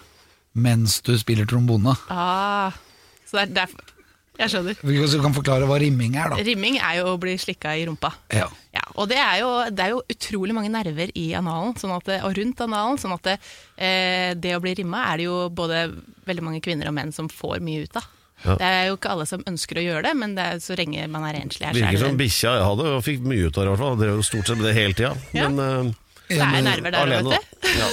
C: mens du spiller trombone.
E: Ah, så det er derfor Jeg skjønner.
C: Hvis du kan forklare hva rimming er, da.
E: Rimming er jo å bli slikka i rumpa.
C: Ja.
E: Ja, og det er, jo, det er jo utrolig mange nerver i analen sånn at det, og rundt analen, sånn at det, eh, det å bli rimma er det jo både veldig mange kvinner og menn som får mye ut av. Det er jo ikke alle som ønsker å gjøre det, men det er, så lenge man er renslig her, så
B: Virker
E: er
B: som
E: det,
B: bikkja jeg hadde, og fikk mye ut av det i hvert fall. Det er jo stort sett det hele tida.
E: Ja.
B: Men
E: det er nerver
B: eh,
E: der,
B: alene,
E: vet du.
B: da. Ja.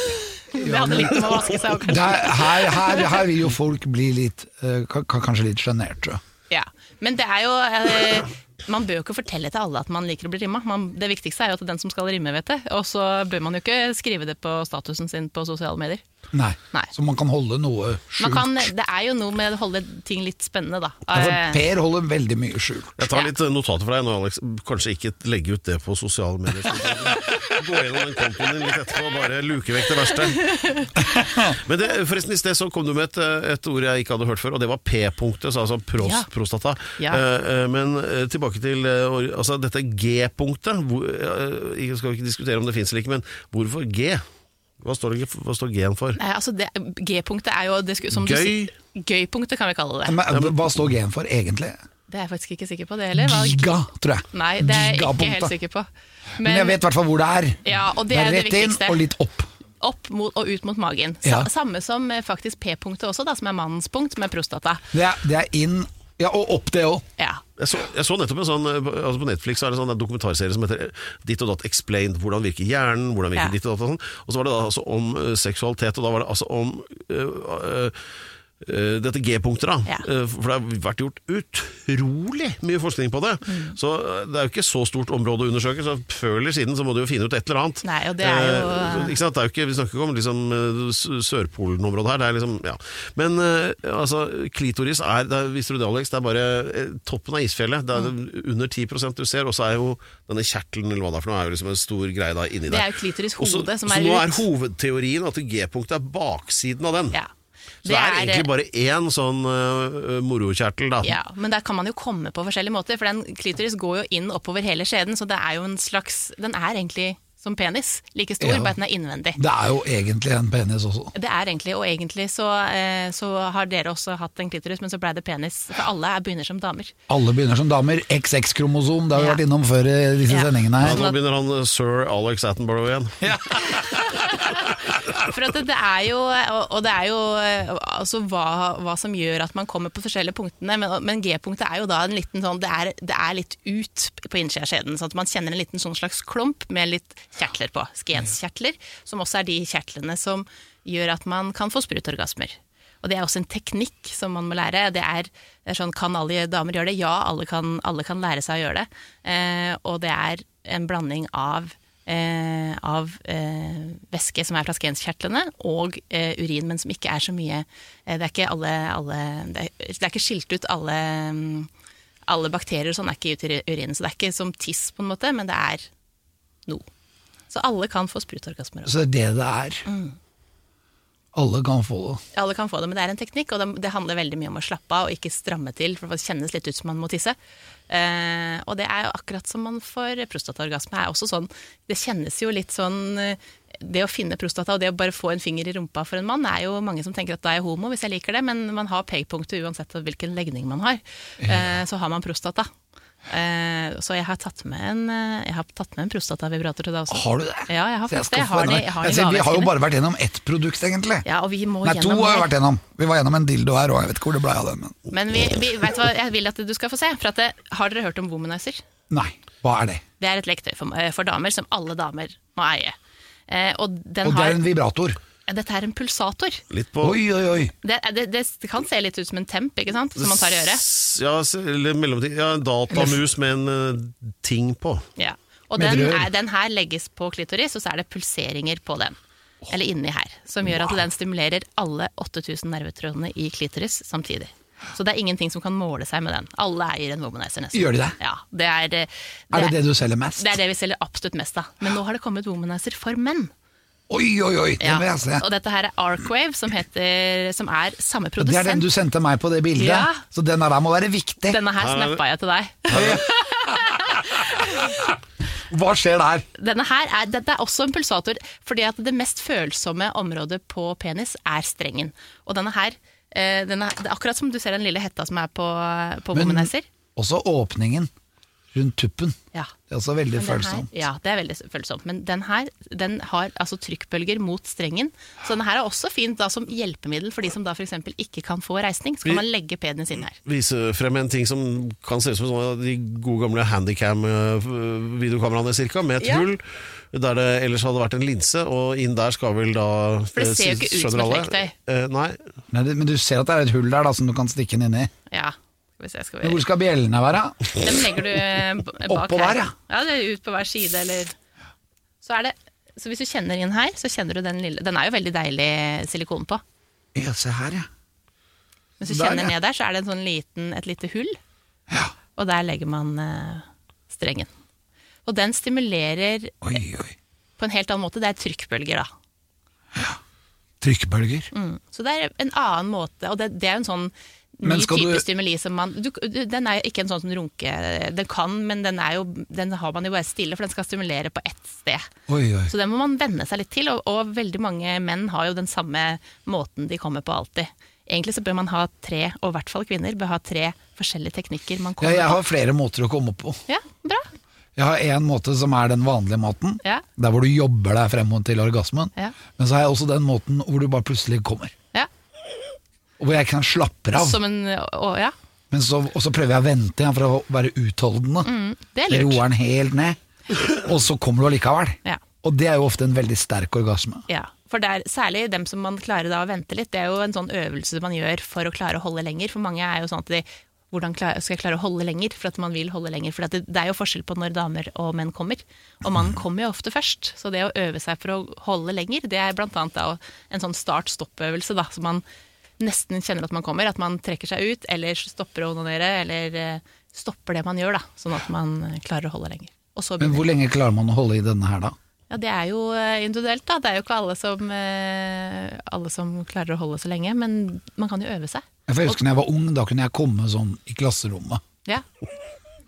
E: Det hadde litt med å vaske seg og kanskje.
C: Der, her, her, her vil jo folk bli litt eh, ka- ka- Kanskje litt sjenerte.
E: Ja. Men det er jo eh, man bør jo ikke fortelle til alle at man liker å bli rimma. Man, det viktigste er jo at den som skal rimme, vet det. Og så bør man jo ikke skrive det på statusen sin på sosiale medier.
C: Nei.
E: Nei.
C: Så man kan holde noe
E: Man
C: skjult.
E: kan, det er jo noe med å holde ting litt spennende, da.
C: Altså,
E: Eh,
C: per holder veldig mye skjult.
B: Jeg tar litt eh, notater for deg nå, Alex. Kanskje ikke legge ut det på sosiale medier. Gå gjennom den kontoen din litt etterpå og bare luke vekk det verste. Men det, forresten, i sted så kom du med et, eh, et ord jeg ikke hadde hørt før, og det var P-punktet, så altså pros,
E: Ja.
B: prostata.
E: Ja.
B: Eh, eh, men eh, tilbake til eh, or- altså dette G-punktet. Hvor, eh, jeg skal ikke diskutere om det fins eller ikke, men hvorfor G? Hva står, det, hva står G-en for?
E: Nei, altså det- G-punktet er jo det, sku- som
B: Gøy.
E: Du, sier- Gøy-punktet kan vi kalle det.
C: Men, hva står G-en for egentlig?
E: Det er jeg faktisk ikke sikker på, det heller. Hva-
C: Giga, tror jeg.
E: Nei, det er jeg ikke
C: Gigapunktet.
E: helt sikker på.
C: Men, jeg vet i hvert fall hvor det er.
E: Ja, og det er det
C: rett inn
E: viktigste.
C: og litt opp.
E: opp mot, og ut mot magen. Sa,
C: Ja.
E: Samme som eh, faktisk P-punktet også, da, som er mannens punkt, som er prostata.
C: Det er, det er inn Ja, og opp det òg.
E: Ja.
B: Jeg så, jeg så nettopp en sånn eh, altså På Netflix så er det en sånn dokumentarserie som heter eh, Ditt og datt explained. Hvordan virker hjernen? Hvordan virker
E: Ja.
B: ditt og datt? Og, sånn. og så var det da altså om eh, seksualitet, og da var det altså om eh, eh, eh, dette G-punktet, da.
E: Ja.
B: Eh, For det har vært gjort utrolig mye forskning på det.
E: Mm.
B: Så eh, det er jo ikke så stort område å undersøke, så før eller siden så må du jo finne ut et eller annet.
E: Nei, og det er jo-
B: Eh, ikke sant? Det er jo ikke, vi snakker ikke om liksom, eh, s- Sørpolen-området her. Det er liksom, ja. Men eh, altså, klitoris er, det er Visste du det, Alex? Det er bare eh, toppen av isfjellet. Det er
E: Mm.
B: under 10 du ser, og så er jo denne kjertelen eller hva det er for noe, er jo liksom en stor greie da inni
E: Det
B: der.
E: er jo klitoris
B: Og så-
E: hode som
B: så
E: er
B: nå
E: ut.
B: er hovedteorien at G-punktet er baksiden av den.
E: ja. eh,
B: Så det er, egentlig bare én sånn eh, morokjertel, da.
E: ja, Men der kan man jo komme på forskjellige måter, for den klitoris går jo inn oppover hele skjeden, så det er jo en slags Den er egentlig som penis, like stor,
C: Ja.
E: bare at den er innvendig.
C: Det er jo egentlig en penis også.
E: Det er egentlig, og egentlig så, eh, så har dere også hatt en klitoris, men så blei det penis. For alle er begynner som damer.
C: Alle begynner som damer. XX-kromosom, det har vi
E: Ja.
C: vært innom før i disse
E: Ja.
C: sendingene
B: Ja,
C: her.
B: nå begynner han eh, sir Alex Attenborough igjen.
E: For at det, det er jo, og og det er jo eh, altså hva, hva som gjør at man kommer på forskjellige punktene, men, men G-punktet er jo da en liten sånn, det er, det er litt ut på innsida av skjeden, sånn at man kjenner en liten sånn slags klump med litt kjertler på, skenskjertler, som også er de kjertlene som gjør at man kan få sprutorgasmer. Og det er også en teknikk som man må lære. Det er, det er sånn, kan alle damer gjøre det? Ja, alle kan, alle kan lære seg å gjøre det. Eh, og det er en blanding av eh, av eh, væske som er fra skenskjertlene, og eh, urin, men som ikke er så mye eh, Det er ikke alle, alle det, er, det er ikke skilt ut alle mm, alle bakterier og sånn er ikke ute i urinen, så det er ikke som tiss, på en måte, men det er noe. Så alle kan få sprutorgasmer. også.
C: Så det er det det er.
E: Mm.
C: Alle kan få det.
E: Alle kan få det, men det er en teknikk, og det, det handler veldig mye om å slappe av og ikke stramme til, for det kjennes litt ut som man må tisse. Eh, og det er jo akkurat som man får prostataorgasme. er også sånn, Det kjennes jo litt sånn eh, Det å finne prostata og det å bare få en finger i rumpa for en mann, er jo mange som tenker at da er jeg homo hvis jeg liker det, men man har pekepunktet uansett hvilken legning man har. Eh, så har man prostata. Eh, så jeg har tatt med en, eh, jeg har tatt med en prostatavibrator til deg også.
C: Har du det?
E: Ja, jeg har
C: Så
E: faktisk
C: skal
E: det. Jeg
C: få
E: har
C: en
E: det-
C: av-
E: jeg har
C: Jeg
E: det i
C: sier, vi har jo
E: gavevesken.
C: bare vært gjennom ett produkt, egentlig.
E: Ja, og vi må
C: Nei, to
E: gjennom
C: har vi
E: mer.
C: vært gjennom. Vi var gjennom en dildo her òg, jeg vet ikke hvor det ble av den. Men...
E: Men vi, vi, vet du hva jeg vil at du skal få se? For at det, har dere hørt om Womanizer?
C: Nei, hva er det?
E: Det er et lektøy for, eh, for damer som alle damer må eie. Eh, og den
C: Og det
E: har,
C: er en vibrator.
E: dette er en pulsator.
B: Litt på
C: Oi, oi, oi.
E: Det, det, det kan se litt ut som en temp, ikke sant? Som man tar i øret.
B: S- Ja, s- eller mellomting. Ja, en datamus med en eh, ting på.
E: Ja. Og
C: Med
E: den,
C: rør.
E: er, den her legges på klitoris, og så er det pulseringer på den. Eller inni her. Som gjør at den stimulerer alle 8000 nervetrådene i klitoris samtidig. Så det er ingenting som kan måle seg med den. Alle eier en womanizer, nesten.
C: Gjør de det?
E: Ja, det er, eh, det
C: Er det det du selger mest?
E: Det er det vi selger absolutt mest av. Men nå har det kommet womanizer for menn.
C: Oi, oi, oi, den
E: Ja.
C: vil jeg se.
E: Og dette her er Arcwave, som, heter, som er samme
C: Det
E: produsent.
C: er den du sendte meg på det bildet,
E: Ja.
C: så den her må være viktig.
E: Denne her
B: Her er det-
E: snappa jeg til deg.
C: Hva skjer der?
E: Denne her er, dette er også en pulsator, fordi at det mest følsomme området på penis er strengen. Og denne her, eh, denne, det er akkurat som du ser den lille hetta som er på, på
C: Men-
E: womanizer.
C: Også åpningen rundt tuppen.
E: Ja.
C: Det er også veldig
E: Men den
C: følsom.
E: Her, ja, det er veldig følsomt. Men den her den har altså trykkbølger mot strengen. Så denne her er også fint da, som hjelpemiddel for de som da f.eks. ikke kan få reisning. Så
B: Vi-
E: kan man legge penis inn her.
B: Vise frem en ting som kan se ut som en sånn av de gode gamle handicam-videokameraene cirka, med et
E: Ja.
B: hull der det ellers hadde vært en linse, og inn der skal vel da
E: For det ser jo ikke ut som et lektøy.
B: Eh, nei.
C: Nei, det- men du ser at det er et hull der da, som du kan stikke den inn i.
E: Ja. Skal vi se, skal
C: Men Hvor
E: vi...
C: skal bjellene være?
E: Den legger du eh, b- bak
C: Oppå der,
E: her.
C: ja.
E: ja. det er ut på hver side, eller Så er det Så hvis du kjenner inn her, så kjenner du den lille Den er jo veldig deilig silikon på.
C: Ja, se her, ja.
E: Hvis du
C: Der,
E: kjenner
C: ja.
E: ned der, så er det en sånn liten, et lite hull. Og der legger man eh, strengen. Og den stimulerer eh,
C: Oi, oi.
E: på en helt annen måte. Det er trykkbølger, da.
C: Trykkbølger.
E: Mm. Så det er en annen måte, og det, det er jo en sånn
C: Men
E: ny
C: skal
E: type
C: du-
E: stimuli som man du, du, Den er jo ikke en sånn som runke Den kan, men den, er jo, den har man jo bare stille, for den skal stimulere på ett sted.
C: Oi, oi.
E: Så den må man venne seg litt til, og, og veldig mange menn har jo den samme måten de kommer på alltid. Egentlig så bør man ha tre, og i hvert fall kvinner, bør ha tre forskjellige teknikker man
C: Ja,
E: kommer
C: jeg har flere måter å komme opp på.
E: på. Ja, bra.
C: Jeg har én måte som er den vanlige måten,
E: Ja.
C: der hvor du jobber deg frem mot til orgasmen.
E: Ja.
C: Men så har jeg også den måten hvor du bare plutselig kommer.
E: Ja.
C: Og hvor jeg kan slappe av.
E: Som en, å, ja.
C: Men så, og så prøver jeg å vente igjen for å være utholdende.
E: Mm, Det er lurt.
C: Roer den helt ned. Og så kommer du allikevel.
E: Ja.
C: Og det er jo ofte en veldig sterk orgasme.
E: Ja, for det er særlig dem som man klarer da å vente litt, det er jo en sånn øvelse man gjør for å klare å holde lenger. For mange er jo sånn at de hvordan klar- skal jeg klare å holde lenger, for at man vil holde lenger. For at det, det er jo forskjell på når damer og menn kommer, og mannen kommer jo ofte først. Så det å øve seg for å holde lenger, det er blant annet da å- en sånn start-stopp-øvelse, da, så man nesten kjenner at man kommer, at man trekker seg ut, eller stopper å onanere, eller eh, stopper det man gjør, da, sånn at man eh, klarer å holde lenger. Og så
C: Men
E: begynner
C: hvor lenge klarer man å holde i denne her, da?
E: ja, det er jo eh, individuelt, da. Det er jo ikke alle som, eh, alle som klarer å holde så lenge, men man kan jo øve seg.
C: For Jeg husker da jeg var ung, da kunne jeg komme sånn i klasserommet.
E: Ja,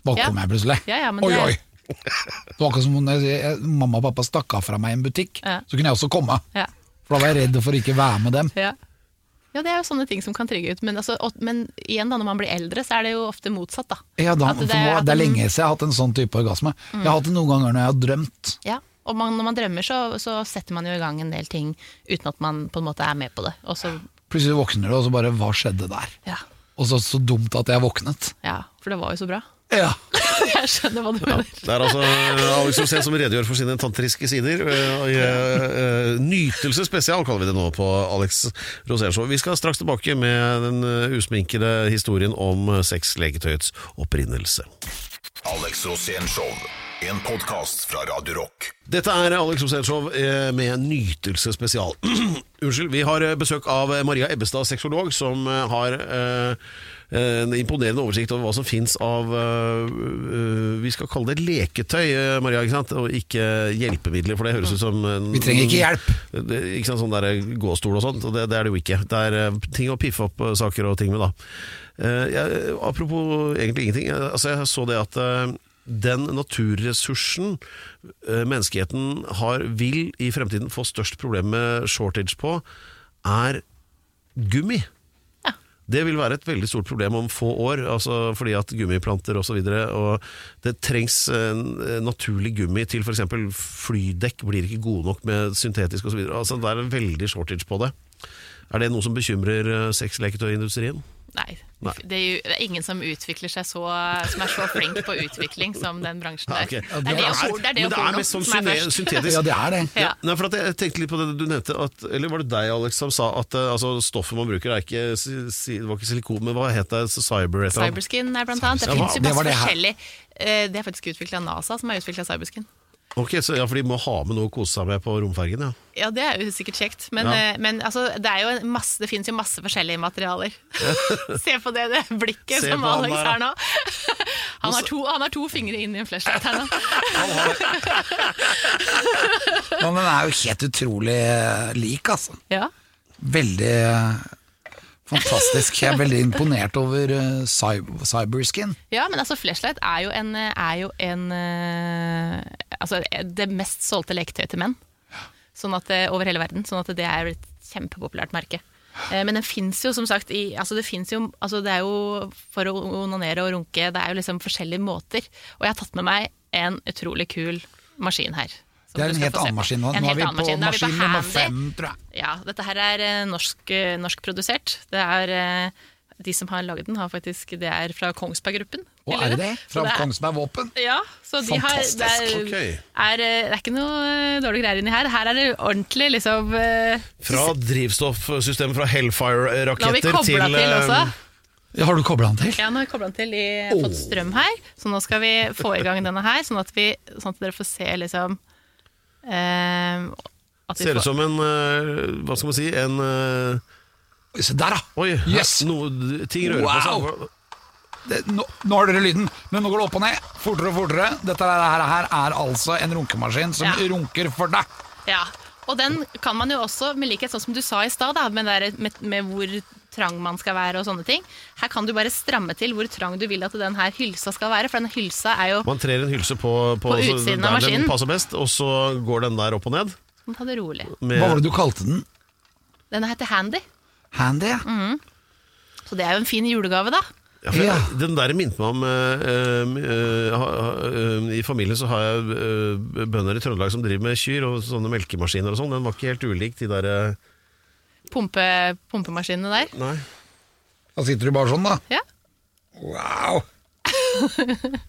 C: Da
E: Ja.
C: kom jeg plutselig.
E: ja, ja men
C: oi,
E: det,
C: oi! Det var akkurat som om jeg, jeg, mamma og pappa stakk av fra meg i en butikk.
E: Ja.
C: Så kunne jeg også komme.
E: Ja,
C: For da var jeg redd for å ikke være med dem.
E: ja. ja, det er jo sånne ting som kan trygge ut. Men, altså, og, men igjen, da, når man blir eldre, så er det jo ofte motsatt, da.
C: Ja, da,
E: At
C: for
E: Altså, det
C: nå,
E: er- at Mm.
C: det er
E: den-
C: lenge siden jeg har hatt en sånn type orgasme. Jeg har hatt det noen ganger når jeg har drømt.
E: Ja, og man, når man drømmer, så, så setter man jo i gang en del ting uten at man på en måte er med på det. Og så,
C: Plutselig våkner du, og så bare Hva skjedde der?
E: ja,
C: Og så så dumt at jeg våknet.
E: ja, for det var jo så bra.
C: Ja.
E: Jeg skjønner hva du mener.
B: Det er altså eh, Alex Rosén som redegjør for sine tantriske sider. eh, og, eh, eh, Nytelse spesial kaller vi det nå på Alex Rosén Show. Vi skal straks tilbake med den eh, usminkede historien om eh, sexleketøyets opprinnelse.
D: Alex Rosén Show. En podkast fra Radio Rock.
B: Dette er Alex Rosén Show eh, med nytelse spesial. Unnskyld. Vi har eh, besøk av eh, Maria Ebbestad, sexolog, som eh, har eh, en imponerende oversikt over hva som fins av eh, eh, Vi skal kalle det leketøy, eh, Maria, ikke sant? og ikke hjelpemidler. For det høres ut som en,
C: Vi trenger ikke hjelp.
B: Det, ikke sant, sånn der gåstol og sånt, og det, det er det jo ikke. Det er eh, ting å piffe opp eh, saker og ting med, da. Eh, jeg, apropos egentlig ingenting. Jeg, altså, jeg så det at eh, den naturressursen eh, menneskeheten har, vil i fremtiden få størst problem med shortage på, er gummi.
E: Ja.
B: Det vil være et veldig stort problem om få år, altså fordi at gummiplanter osv. Det trengs eh, naturlig gummi til f.eks. flydekk blir ikke gode nok med syntetisk osv. Altså, det er en veldig shortage på det. Er det noe som bekymrer eh, sexleketøyindustrien?
E: Nei.
B: Nei.
E: Det, er jo, det er ingen som utvikler seg så Som er så flink på utvikling som den bransjen der.
B: Ok.
E: Det er det og porno, det er det
B: men
E: og
B: det er
E: porno
B: mest sånn
E: som er
B: syne-
E: først.
B: syntetisk.
C: ja, det er det.
E: Ja.
B: Nei, for at jeg tenkte litt på det du nevnte at, Eller var det deg, Alex, som sa at eh, altså, stoffet man bruker er ikke si- si- Det var ikke silikon, men hva het det? Cyber et eller annet?
E: Cyberskin er blant annet. Det
B: Cyberskin.
C: Ja, hva-
E: finnes jo masse
C: det var
E: forskjellig. Eh, Det er faktisk utvikla NASA, som har utvikla cyberskin.
B: Ok, så, ja, for de må ha med noe å kose seg med på romfergen, ja.
E: Ja, det er jo sikkert kjekt, men,
B: Ja.
E: eh, men altså, det, er jo en masse, det finnes jo masse forskjellige materialer. Se på det, det blikket
B: Se
E: som
B: på han
E: Alex
B: der,
E: har nå. Han har, to, han har to fingre inn i en flashlight her nå.
C: Men den er jo helt utrolig eh, lik, altså.
E: Ja.
C: Veldig eh, fantastisk. Jeg er veldig imponert over eh, cy- cyberskin.
E: Ja, men altså flashlight er jo en, er jo en eh, Altså det mest solgte leketøyet til menn sånn at, det- over hele verden. Sånn at det er et kjempepopulært merke. Eh, Men den fins jo, som sagt i, altså det, finnes jo, altså det er jo for å onanere og runke Det er jo liksom forskjellige måter. Og jeg har tatt med meg en utrolig kul maskin her. som
C: Det er
E: du
C: en
E: skal
C: helt
E: få se på.
C: annen maskin nå.
E: En
C: Nå
E: helt
C: er vi på
E: annen Da er vi
C: maskin nummer
E: Handy.
C: fem, tror jeg.
E: Ja, dette her er eh, norsk, eh, norskprodusert. Det er eh, de som har laget den, har faktisk, det er fra Kongsberg-gruppen.
C: Å, er det det?
E: Så
C: Fra
E: det er-
C: Kongsberg Våpen?
E: Ja, så de har, det, er,
B: Fantastisk, ok.
E: er, eh, det er ikke noe eh, dårlige greier inni her. Her er det ordentlig liksom eh,
B: Fra drivstoffsystemet fra
E: La vi
B: Hellfire-raketter
E: koble
B: til
E: til, til
B: eh,
E: også.
C: Ja, Har du kobla den til?
E: Ja, nå har jeg koblet den til i fått strøm her, så nå skal vi få i gang denne her, sånn at, vi, sånn at dere får se liksom eh, at vi
B: Ser
E: får-
B: ut som en eh, Hva skal man si? En eh,
C: Se der, da!
B: Oi, her-
C: yes.
B: noe, ting rører på seg.
C: Wow. det, nå, nå har dere lyden, men nå går det opp og ned. Fortere og fortere. Dette her, her er altså en runkemaskin som
E: Ja.
C: runker for deg.
E: Ja, og den kan man jo også, med likhet sånn som du sa i stad, da, med, det der- med, med hvor trang man skal være og sånne ting. Her kan du bare stramme til hvor trang du vil at den her hylsa skal være, for den hylsa er jo
B: Man trer en hylse på, på,
E: På utsiden
B: der
E: av maskinen.
B: den passer best, og så går den der opp og ned.
E: Må Ta det rolig.
B: Med,
C: Hva var det du kalte den?
E: Den heter Handy,
C: Handy? ja.
E: Mm. så det er jo en fin julegave, da.
B: ja, for,
C: Ja.
B: Den der minte meg om eh, eh, ha- ha- eh, I familien så har jeg eh, bønder i Trøndelag som driver med kyr og sånne melkemaskiner og sånn. Den var ikke helt ulik de der eh,
E: Pumpe, pumpemaskinene der.
B: Nei.
C: Da sitter du bare sånn, da.
E: Ja.
C: Wow!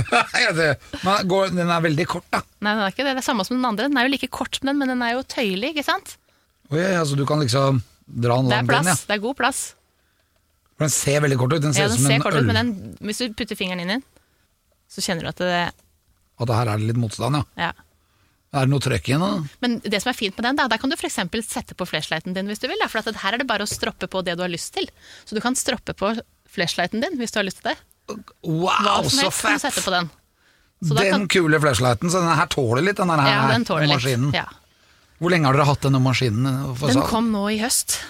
C: Ja, det- men går, den er veldig kort, da.
E: Nei, den er ikke det. Det er samme som den andre. Den er jo like kort som den, men den er jo tøyelig, ikke sant?
C: Oi, ja, så du kan liksom dra den
E: Det er
C: langt inn, ja.
E: plass. Det er god plass.
C: For den ser veldig kort ut. Den ser
E: Ja,
C: ut
E: den
C: som
E: ser
C: en
E: kort
C: øl.
E: ut, men den, hvis du putter fingeren inn i den, så kjenner du at det
C: At her er det litt motstand, ja.
E: Ja.
C: Er det noe trøkk i den? da?
E: Men det som er fint med den, da, der kan du f.eks. sette på flashlighten din hvis du vil. Da, for at her er det bare å stroppe på det du har lyst til. Så du kan stroppe på flashlighten din hvis du har lyst til det.
C: Wow,
E: som
C: så
E: helst kan du sette
C: fett!
E: på den. Så da
C: Den
E: kan,
C: kule flashlighten, så den her tåler litt, den her,
E: ja, den tåler
C: maskinen.
E: litt. Ja.
C: Hvor lenge har dere hatt denne maskinen? eh, for
E: Den
C: salg?
E: kom nå i høst.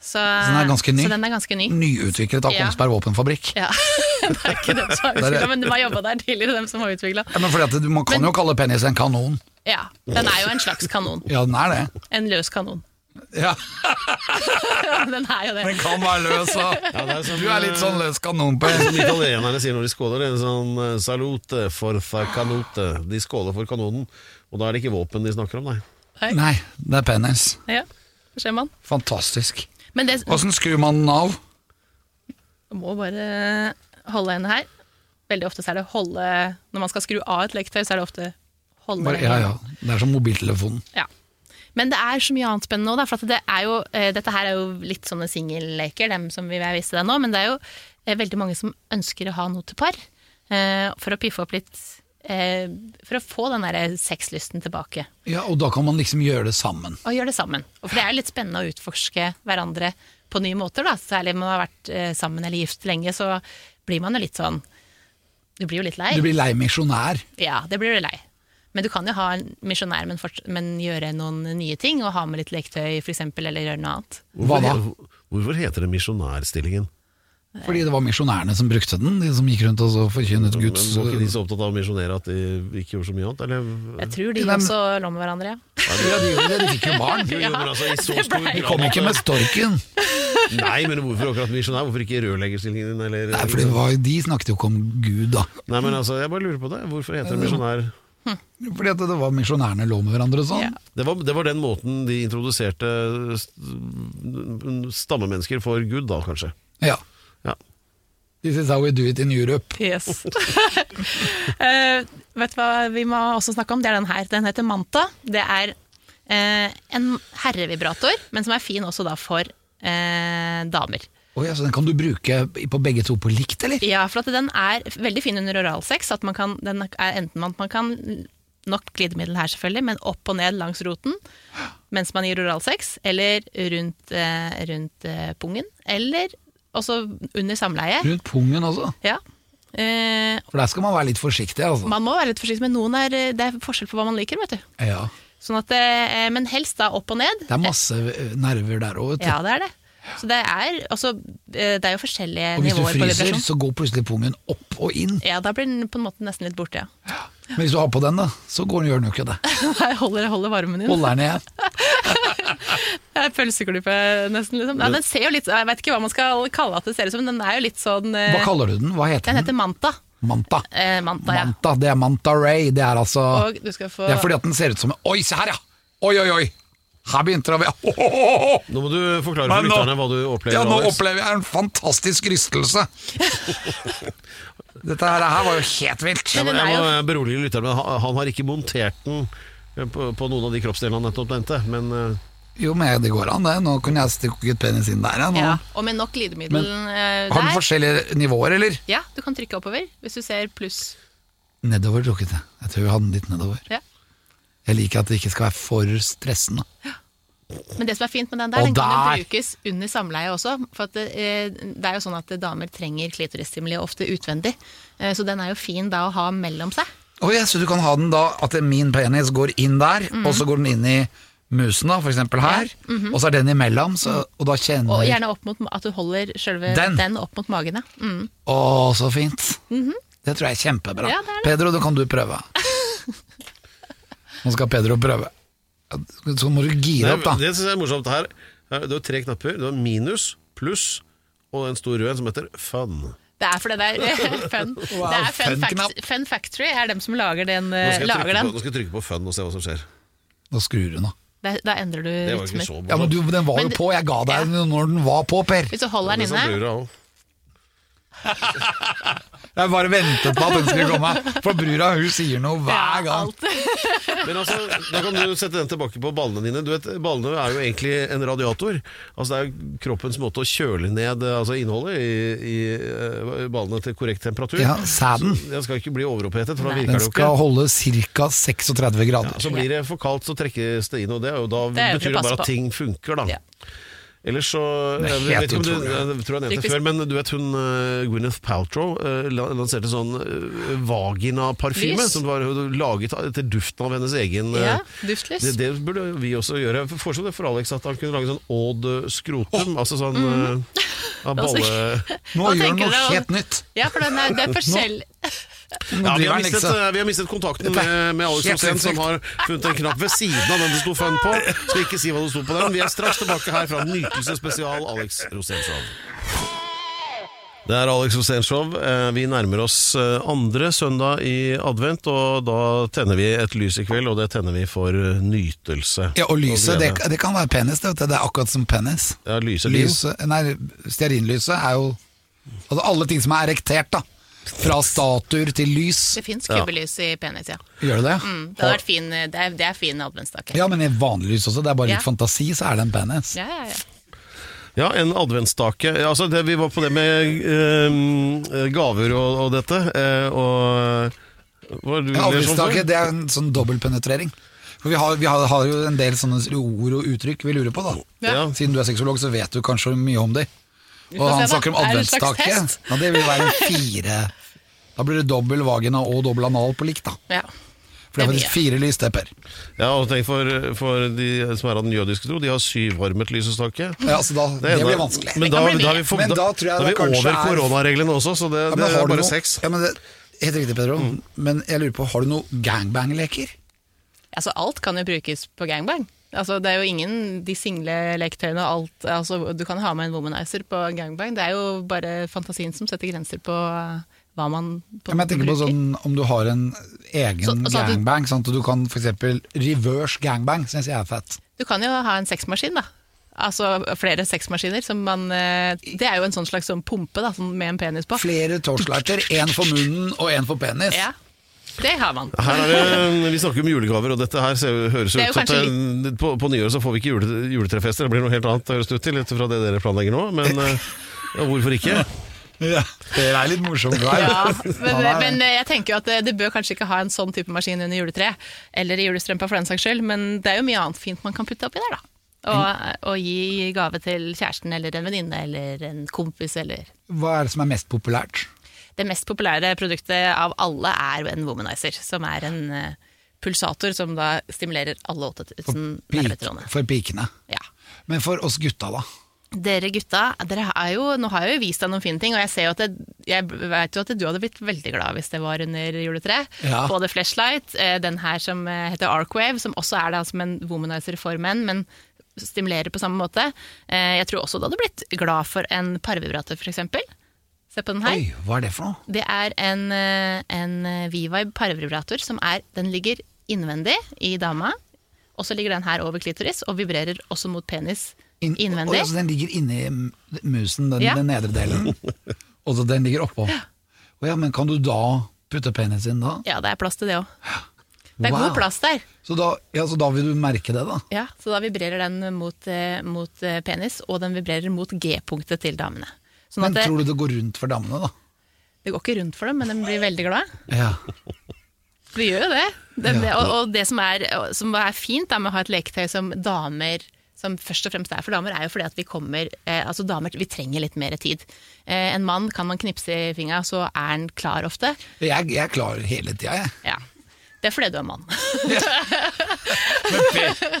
E: Så,
C: den er ganske ny?
E: Så den er ganske ny.
C: Nyutviklet av
E: Ja.
C: Kongsberg Våpenfabrikk.
E: Ja. det er ikke dem som har utvikla, men de har jobba der tidligere, dem som har utvikla.
C: Ja, men fordi at du- Man kan jo kalle penis en kanon.
E: Ja. Den er jo en slags kanon.
C: Ja, den er det.
E: En løs kanon.
C: Ja,
E: Den er jo det.
C: Den kan være løs, da.
B: det er som,
C: Du er litt sånn løs kanon på
B: Som italienerne sier når de skåler, det er en sånn eh, salute forza canute. De skåler for kanonen, og da er det ikke våpen de snakker om, nei.
C: Nei, det er penis.
E: Ja. Ser man.
C: Fantastisk.
E: Men det
C: Åssen skrur man den av?
E: må bare holde henne her. Veldig ofte så er det holde Når man skal skru av et leketøy, så er det ofte holde
C: Bare,
E: lenge.
C: ja, ja. Det er som mobiltelefonen.
E: Ja. Men det er så mye annet spennende òg, for at det er jo, eh, dette her er jo litt sånne singelleker, dem som vi vil vise deg nå, men det er jo eh, veldig mange som ønsker å ha noe til par. eh, For å piffe opp litt eh, For å få den der sexlysten tilbake.
C: Ja, Og da kan man liksom gjøre det sammen.
E: Og gjøre det sammen. Og for det er jo litt spennende å utforske hverandre på nye måter, da. Særlig om man har vært eh, sammen eller gift lenge, så blir man jo litt sånn Du blir jo litt lei.
C: Du blir lei misjonær.
E: Ja, det blir du lei. Men du kan jo ha en misjonær, men, forts- men gjøre noen nye ting. Og ha med litt lektøy, f.eks., eller gjøre noe annet.
C: Hva da?
B: Hvorfor heter det misjonærstillingen?
C: Fordi det var misjonærene som brukte den. De som gikk rundt og så forkynnet
B: Men
C: Guds eh,
B: Var ikke de så opptatt av å misjonere at de ikke gjorde så mye annet? Eller?
E: Jeg tror de
C: Nei, men-
E: også lå med hverandre, ja.
C: Ja, de gjorde det. De fikk jo barn.
B: Jo, jo, men altså, i så
E: det
B: stor
E: ble-
B: grad
C: De kom ikke med storken.
B: Nei, men hvorfor akkurat misjonær? Hvorfor ikke rørleggerstillingen din? Eller,
C: Nei, for det var, jo- de snakket jo ikke om Gud, da.
B: Nei, men altså, jeg bare lurer på det. Hvorfor heter det misjonær?
C: Fordi at det var misjonærene lå med hverandre og sånn.
E: Ja.
B: Det var, det var den måten de introduserte st- stammemennesker for Gud, da, kanskje.
C: Ja.
B: Ja.
C: This is how we do it in Europe.
E: Yes. Eh, vet du hva vi må også snakke om? Det er den her. Den heter Manta. Det er eh, en herrevibrator, men som er fin også da for eh, damer.
C: Å ja, så den kan du bruke på begge to på likt, eller?
E: Ja, for at den er veldig fin under oralsex. At man kan, den er enten at man kan nok glidemiddel her, selvfølgelig, men opp og ned langs roten mens man gir oralsex, eller rundt, eh, rundt eh, pungen, eller også under samleie.
C: Rundt pungen også.
E: Ja. Eh,
C: For der skal man være litt forsiktig, altså.
E: man må være litt forsiktig, men noen er, eh, det er forskjell på hva man liker, vet du.
C: Ja.
E: Sånn at, eh, men helst da opp og ned.
C: Det er masse eh, nerver der òg, vet du.
E: Ja, det er det. Så det er, altså, eh, det er jo forskjellige
C: Og hvis du
E: nivåer på
C: fryser,
E: vibrasjon.
C: så går plutselig pungen opp og inn.
E: Ja, da blir den på en måte nesten litt borte, ja.
C: Men hvis du har på den, da, så går den, gjør den jo ikke det.
E: Jeg holder, holder varmen din.
C: Holder den igjen.
E: Det er Pølseklype, nesten. liksom. Nei, den ser jo litt, Jeg vet ikke hva man skal kalle at det ser ut som, men den er jo litt sånn eh,
C: Hva kaller du den? Hva
E: Den
C: heter den?
E: heter Manta.
C: Manta.
E: Eh, Manta, ja.
C: Manta, Det er Manta Ray. Det er altså
E: Og du skal få
C: Det er fordi at den ser ut som en Oi, se her, ja! Oi, oi, oi! Her begynte det å være
B: Nå må du forklare
C: Men
B: for
C: nå-
B: lytterne hva du opplever.
C: Ja, nå
B: Alex.
C: opplever jeg en fantastisk rystelse. Dette her, her var jo helt vilt.
E: Men den er
B: Jeg
E: jo
B: må eh, berolige lytterne med at han- han har ikke montert den eh, på, på noen av de kroppsdelene han nettopp nevnte, men eh,
C: Jo mer det går an, det. Nå kunne jeg stukket penis inn der. jeg, Nå.
E: Ja, og med nok glidemiddel eh,
C: Har den
E: der.
C: forskjellige nivåer, eller?
E: Ja, du kan trykke oppover hvis du ser pluss.
C: Nedover trukket jeg. Jeg tror vi hadde den litt nedover.
E: Ja.
C: Jeg liker at det ikke skal være for stressende.
E: Men det som er fint med den der,
C: Og
E: den kan
C: der!
E: jo brukes under samleie også. For at, eh, det er jo sånn at damer trenger klitorisstimuli ofte utvendig. Eh, så den er jo fin da å ha mellom seg.
C: Å ja, så du kan ha den da at min penis går inn der,
E: Mhm.
C: og så går den inn i musen, da, for eksempel her. Og så er den imellom, så, og da kjenner
E: Mm. Og gjerne opp mot, at du holder selve
C: Den.
E: den, opp mot magen. ja. Mm.
C: Å, så fint. Det tror jeg er kjempebra.
E: Mhm. Ja, det er det.
C: Pedro, nå kan du prøve. Nå skal Pedro prøve. Så må du gire opp, da.
B: Det, det synes jeg er morsomt her. her. Du har tre knapper. Du har minus, pluss og en stor rød en som heter fun.
E: Det er for det der fun. det er fun,
C: fun knapp.
E: fact, fun Factory er dem som lager den.
B: Nå
E: eh,
B: skal, jeg
E: Lager
B: trykke på,
E: den.
B: nå skal jeg trykke på fun og se hva som skjer.
C: Nå skrur du nå.
E: Da, da endrer du
B: Det var jo
E: rytmer.
B: ikke så
C: Ja, men du, Den var jo
E: Men-
C: på, jeg ga deg den når den var på, Per.
E: Hvis du holder den
B: Det er sånn
E: inne
B: brura også.
C: Jeg bare ventet på at den skulle komme. For brura hun sier noe hver
E: ja,
C: gang.
E: alt.
B: Men altså, da kan du sette den tilbake på ballene dine. Du vet, Ballene er jo egentlig en radiator. Altså Det er jo kroppens måte å kjøle ned eh, altså innholdet i, i eh, ballene til korrekt temperatur.
C: Ja, sæden.
B: Så Den skal ikke bli overopphetet, for da
E: Nei.
B: virker
C: Den
B: det jo ikke.
C: skal holde ca. 36 grader.
B: Så blir det for kaldt, så trekkes det inn, og det, er jo da
E: Det er jo
B: betyr
E: til å
B: det bare
E: passe
B: at
E: på.
B: ting funker, da.
E: Ja.
B: Ellers så eh,
C: Det er
B: jeg
C: helt
B: vet ikke om du,
C: utrolig.
B: jeg tror jeg nevnte det
E: Typisk.
B: før, men du vet hun eh, Gwyneth Paltrow eh, la- lanserte sånn eh, vagina-parfyme,
E: Lys.
B: som var laget etter duften av hennes egen eh,
E: Ja, duftlys.
B: Det, det burde vi også gjøre. Foreslå det for Alex at han kunne lage sånn Odd Skrotum, altså sånn
C: Mm.
B: eh, av
E: Altså,
B: balle...
C: Nå
E: Hva
C: gjør den noe
E: tenker dere om-
C: helt nytt.
E: Ja, for den er, det er forskjell.
C: Nå
B: Ja, vi,
C: driver
B: har
C: den
B: mistet,
C: liksom.
B: eh, vi har mistet kontakten
C: Dette er
B: med, med Alex
C: helt
B: Rosén, som
C: sinnssykt.
B: har funnet en knapp ved siden av den det sto fun på. Skal ikke si hva det sto på den. Vi er straks tilbake her fra Nytelsesspesial Alex Rosénshow. Det er Alex Rosénshow. Eh, Vi nærmer oss eh, andre søndag i advent, og da tenner vi et lys i kveld, og det tenner vi for eh, nytelse.
C: Ja, og lyset, det,
B: glede.
C: det kan være penis. Det, vet du. det er akkurat som penis.
B: Ja, lyset din.
C: Lyset, nei, stearinlyset er jo Altså alle ting som er erektert, da. Fra statuer til lys.
E: Det fins kubbelys i penis, ja.
C: Gjør det det?
E: Mm, det, har vært fin, det, er, det er fin adventsstake.
C: Ja, men i vanlig lys også. Det er bare litt
E: Ja.
C: fantasi, så er det en penis.
E: Ja, ja, ja.
B: Ja, en adventsstake. Ja, Altså, det, vi var på det med eh, gaver og, og dette, eh, og hva er det du
C: Ja,
B: ler sånn for?
C: Avlivstaket, det er en sånn dobbeltpenetrering. For vi har, vi har, har jo en del sånne ord og uttrykk vi lurer på, da.
B: Ja.
C: Siden du er sexolog, så vet du kanskje mye om dem.
E: Vi
C: Og
E: får se,
C: han
E: da.
C: snakker om
E: Er det en slags
C: adventstaket.
E: test?
C: Ja, det vil være en fire Da blir det dobbel vagina og dobbel anal på likt, da.
E: Ja.
C: For det er
E: Det blir-
C: faktisk fire lystepper.
B: Ja, og tenk for, for de som er av den jødiske tro, de har syvarmet lysestake.
C: Ja, så da, det,
B: ene-
C: blir vanskelig.
B: Men
E: Det
B: da,
E: kan bli
B: da er vi,
E: mye.
B: for,
C: Men
B: da,
C: da tror jeg
B: da er
C: det
B: vi
C: kanskje
B: over
C: er-
B: koronareglene også, så det,
C: Ja, men
B: det er
C: har du
B: bare Mm.
C: noe-
B: seks.
C: Ja, men det, helt riktig, Pedro. Men jeg lurer på, har du noen gangbang-leker?
E: Altså, alt kan jo brukes på gangbang. Altså, det er jo ingen de single leketøyene og alt altså, Du kan ha med en womanizer på gangbang. Det er jo bare fantasien som setter grenser på eh, hva man på
C: Ja, men jeg tenker på sånn, om du har en egen
E: Så- så at du-
C: gangbang, sånn at du kan for eksempel reverse gangbang, synes jeg er fett.
E: Du kan jo ha en sexmaskin, da. Altså flere sexmaskiner som man eh, Det er jo en sånn slags sånn pumpe da, sånn med en penis på.
C: Flere torchlighter, en for munnen og en for penis.
E: Ja, det har man.
B: Her er det, vi snakker om julegaver, og dette her ser, jo- høres jo
E: Det er
B: ut
E: jo
B: som at det, på, på nyåret så får vi ikke jule, juletrefester. Det blir noe helt annet, høres det ut til, ut fra det dere planlegger nå. Men eh, ja, hvorfor ikke?
C: Ja, det er litt morsomt. det her. Ja,
E: Ja, men,
C: det er det.
E: men eh, jeg tenker jo at det, det bør kanskje ikke ha en sånn type maskin under juletreet, eller i julestrømpa for den saks skyld, men det er jo mye annet fint man kan putte oppi der, da.
C: Mm.
E: Og, eh, og gi gave til kjæresten eller en venninne eller en kompis eller
C: Hva er det som er mest populært?
E: Det mest populære produktet av alle er en womanizer, som er en eh, pulsator som da stimulerer alle 8000
C: Pik,
E: nervetrådene.
C: for pikene.
E: Ja.
C: Men for oss gutta, da?
E: Dere gutta, dere er jo, nå har jeg jo vist deg noen fine ting, og jeg, ser jo at det, jeg vet jo at du hadde blitt veldig glad hvis det var under juletreet.
C: Ja.
E: Både flashlight, eh, den her som eh, heter Arcwave, som også er da som en womanizer for menn, men stimulerer på samme måte. Eh, Jeg tror også du hadde blitt glad for en parvibrator, for eksempel. Se på den her.
C: Oi, hva er det for noe?
E: Det er en, eh, en eh, V-Vibe parvibrator som er, den ligger innvendig i dama, og så ligger den her over klitoris, og vibrerer også mot penis
C: Inn-
E: innvendig.
C: Oi, altså, den ligger inni m- musen, den,
E: Ja.
C: den nedre delen. Og så den ligger oppå. Å ja, men kan du da putte penis inn da?
E: Ja, det er plass til det òg. Det er
C: Wow.
E: god plass Sånn der.
C: Så da, ja, så da vil du merke det, da.
E: Ja, så da vibrerer den mot, eh, mot eh, penis, og den vibrerer mot G-punktet til damene. Sånn
C: Men
E: at det,
C: tror du det går rundt for damene, da?
E: det går ikke rundt for dem, men de blir veldig glade.
C: Ja.
E: Vi gjør jo det. det,
C: Ja.
E: det og, og det som er, som er fint da, med å ha et leketøy som damer som først og fremst er for damer, er jo fordi at vi kommer eh, Altså damer, vi trenger litt mer tid. Eh, en mann kan man knipse i fingra, så er han klar ofte.
C: Jeg, jeg klarer hele tida, jeg.
E: Ja. Det er fordi du er mann.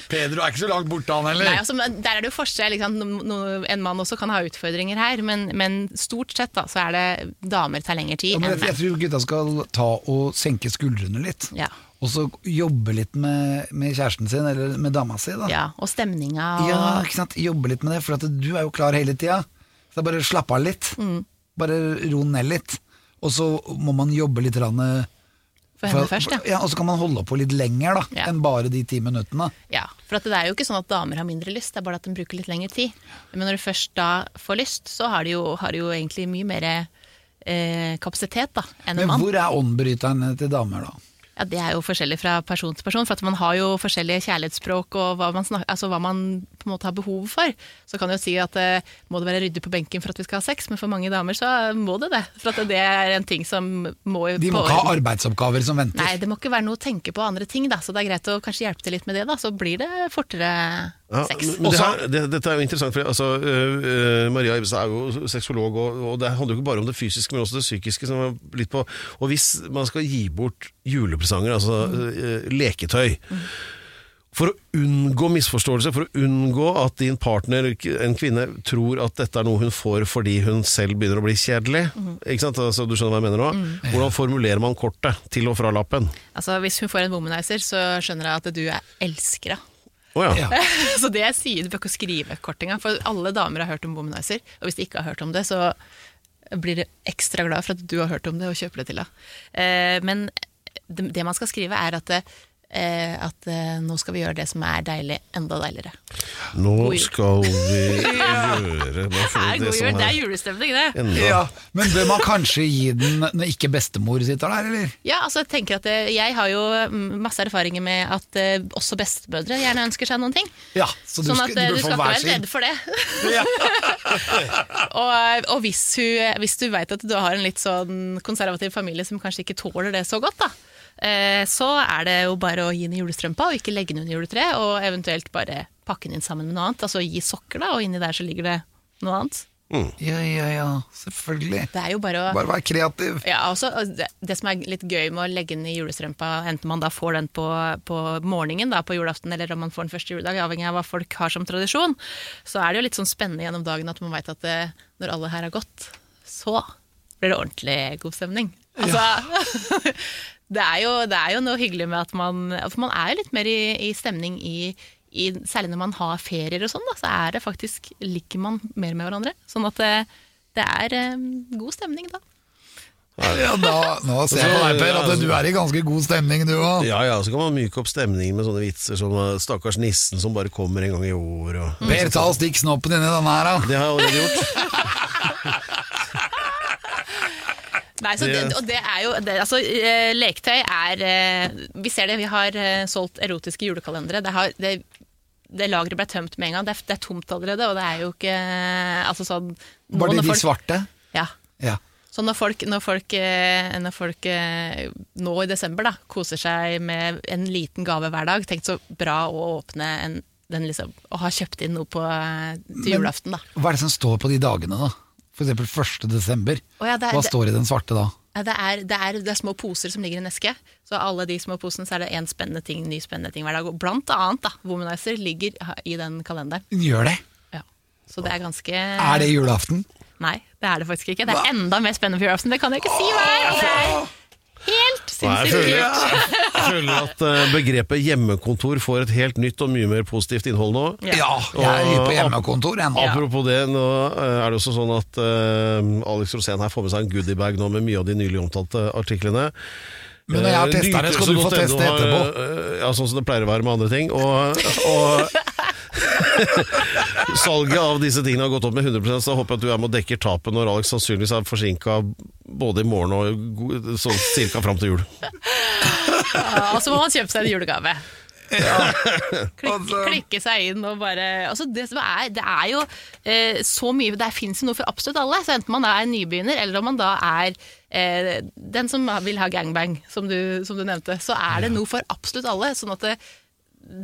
C: Pedro er ikke så langt borte, han
E: Nei,
C: heller.
E: altså, men der er det jo forskjell. Ikke sant? No, no, en mann også kan ha utfordringer her, men, men stort sett da, så er det damer tar lengre tid
C: Ja, men
E: enn
C: jeg, jeg
E: menn.
C: tror gutta skal ta og senke skuldrene litt.
E: Ja.
C: Og så jobbe litt med, med kjæresten sin, eller med dama si. da.
E: Ja, og stemninga og
C: Ja, ikke sant? Jobbe litt med det, for at du er jo klar hele tida. Så det er bare slapp av litt.
E: Mm.
C: Bare ro ned litt. Og så må man jobbe litt rann, eh,
E: For
C: for-
E: henne først, ja.
C: ja. Og så kan man holde på litt lenger da,
E: Ja.
C: enn bare de ti minuttene.
E: Ja, for at det er jo ikke sånn at damer har mindre lyst, det er bare at de bruker litt lengre tid. Men når du først da får lyst, så har de jo, har de jo egentlig mye mer eh, kapasitet da, enn en
C: Men
E: mann.
C: hvor er åndbryteren eh, til damer, da?
E: Ja, det er jo forskjellig fra person til person, for at man har jo forskjellige kjærlighetsspråk og hva man, snak, altså hva man på en måte har behov for. Så kan du jo si at eh, må det være ryddig på benken for at vi skal ha sex, men for mange damer så må det det. For at det er en ting som må
C: De må
E: på-
C: ikke ha arbeidsoppgaver som venter.
E: Nei, det må ikke være noe å tenke på andre ting, da. Så det er greit å kanskje hjelpe til litt med det, da. Så blir det fortere
B: Ja,
E: sex.
B: men det her, det, dette er jo interessant, for altså, øh, øh, Maria Ibbestad er jo sexolog, og, og det handler jo ikke bare om det fysiske, men også det psykiske. Som er litt på, og hvis man skal gi bort julepresanger, altså øh, leketøy For å unngå misforståelse, for å unngå at din partner, en kvinne, tror at dette er noe hun får fordi hun selv begynner å bli kjedelig. Ikke sant? Altså, du skjønner hva jeg mener nå?
E: Mm.
B: Hvordan formulerer man kortet til og fra lappen?
E: Altså, Hvis hun får en womanizer, så skjønner jeg at du er elskere.
B: Å ja.
C: Ja.
E: så det jeg sier, du bør ikke skrive kortinga, for alle damer har hørt om womanizer. Og hvis de ikke har hørt om det, så blir de ekstra glad for at du har hørt om det og kjøper det til deg. Eh, men det, det man skal skrive, er at, det, eh, at eh, nå skal vi gjøre det som er deilig, enda deiligere.
B: Nå
E: jul.
B: skal vi gjøre Nå får vi
E: god jul,
B: som
E: det er julestemning, det!
B: Enda
C: Ja, men bør man kanskje gi den når ikke bestemor sitter der, eller?
E: Ja, altså Jeg tenker at eh, jeg har jo mm, masse erfaringer med at eh, også bestemødre gjerne ønsker seg noen ting.
C: Ja, så du
E: sånn
C: skal-
E: at
C: du
E: eh,
C: bør
E: du
C: få
E: skal ikke
C: hver
E: være
C: sin.
E: redd for det. og eh, og hvis, hun, hvis du veit at du har en litt sånn konservativ familie som kanskje ikke tåler det så godt, da, eh, så er det jo bare å gi henne julestrømpa og ikke legge den under juletreet, og eventuelt bare pakke den inn sammen med noe annet. Altså gi sokker, da, og inni der så ligger det noe annet.
C: Ja, ja, ja, selvfølgelig.
E: Det er jo bare å
C: Bare vær kreativ.
E: Ja, også, og det, det som er litt gøy med å legge den i julestrømpa, enten man da får den på, på morgenen da, på julaften, eller om man får den første juledag, avhengig av hva folk har som tradisjon, så er det jo litt sånn spennende gjennom dagen at man veit at eh, når alle her har gått, så blir det ordentlig god stemning. Altså, det, er jo, det er jo noe hyggelig med at man For man er jo litt mer i, i stemning i i, særlig når man har ferier og sånn, da, så er det faktisk, ligger man mer med hverandre. Sånn at det, det er eh, god stemning da.
C: Ja, da, nå ser jeg på deg, Per, at du er i ganske god stemning, du òg.
B: Ja, ja, så kan man myke opp stemningen med sånne vitser som eh, 'stakkars nissen som bare kommer en gang i år' og
C: Mm.
E: Mm.
C: Per, ta og stikk snoppen inni denne her, da.
B: Det har jeg allerede gjort.
E: Nei, så det,
B: Det-
E: og det er jo det, altså, eh, Leketøy er eh, Vi ser det, vi har eh, solgt erotiske julekalendere. Det, har, det, det lageret ble tømt med en gang. Det er, det er tomt allerede, og det er jo ikke altså, sånn, nå
C: Var det
E: når
C: de
E: folk-
C: svarte?
E: Ja.
C: Ja.
E: Så når folk, når, folk, eh, når folk eh, nå i desember da, koser seg med en liten gave hver dag, tenk så bra å åpne en, den liksom, og ha kjøpt inn noe på, eh, til julaften, da.
C: Hva er det som står på de dagene, da? For eksempel 1. desember.
E: Å ja, det er-
C: Hva
E: det-
C: står i den svarte da?
E: Ja, Det er, det, er, det er små poser som ligger i en eske. Så alle de små posene så er det én spennende ting, ny spennende ting hver dag. Og blant annet da, Womanizer ligger ha- i den kalenderen.
C: Gjør det?
E: Ja. Så det er ganske
C: Er det julaften?
E: Nei, det er det faktisk ikke. Det er enda mer spennende for julaften. Det kan jeg ikke si hver! Det er helt
B: Jeg
E: sinnssykt.
B: føler, jeg føler at eh, begrepet hjemmekontor får et helt nytt og mye mer positivt innhold nå.
E: Ja.
C: Ja, jeg er hypp på hjemmekontor, jeg nå.
B: Apropos det, nå eh, er det også sånn at eh, Alex Rosén her får med seg en goodiebag nå med mye av de nylig omtalte artiklene.
C: Men når jeg har
B: Eh,
C: testa det, skal du få
B: nytelse.no
C: teste
B: har,
C: etterpå.
B: eh, Ja, sånn som det pleier å være med andre ting. Og, og salget av disse tingene har gått opp med 100 så jeg håper at du er med og dekker tapet når Alex sannsynligvis er forsinka både i morgen og go- sånn cirka fram til jul.
E: Ja, og så må man kjøpe seg en julegave. Klikke,
C: Altså-
E: klikke seg inn og bare altså det, som er, det er jo eh, så mye Det fins jo noe for absolutt alle. Så enten man er nybegynner, eller om man da er eh, den som vil ha gangbang, som du, som du nevnte, så er det noe for absolutt alle. Sånn at det,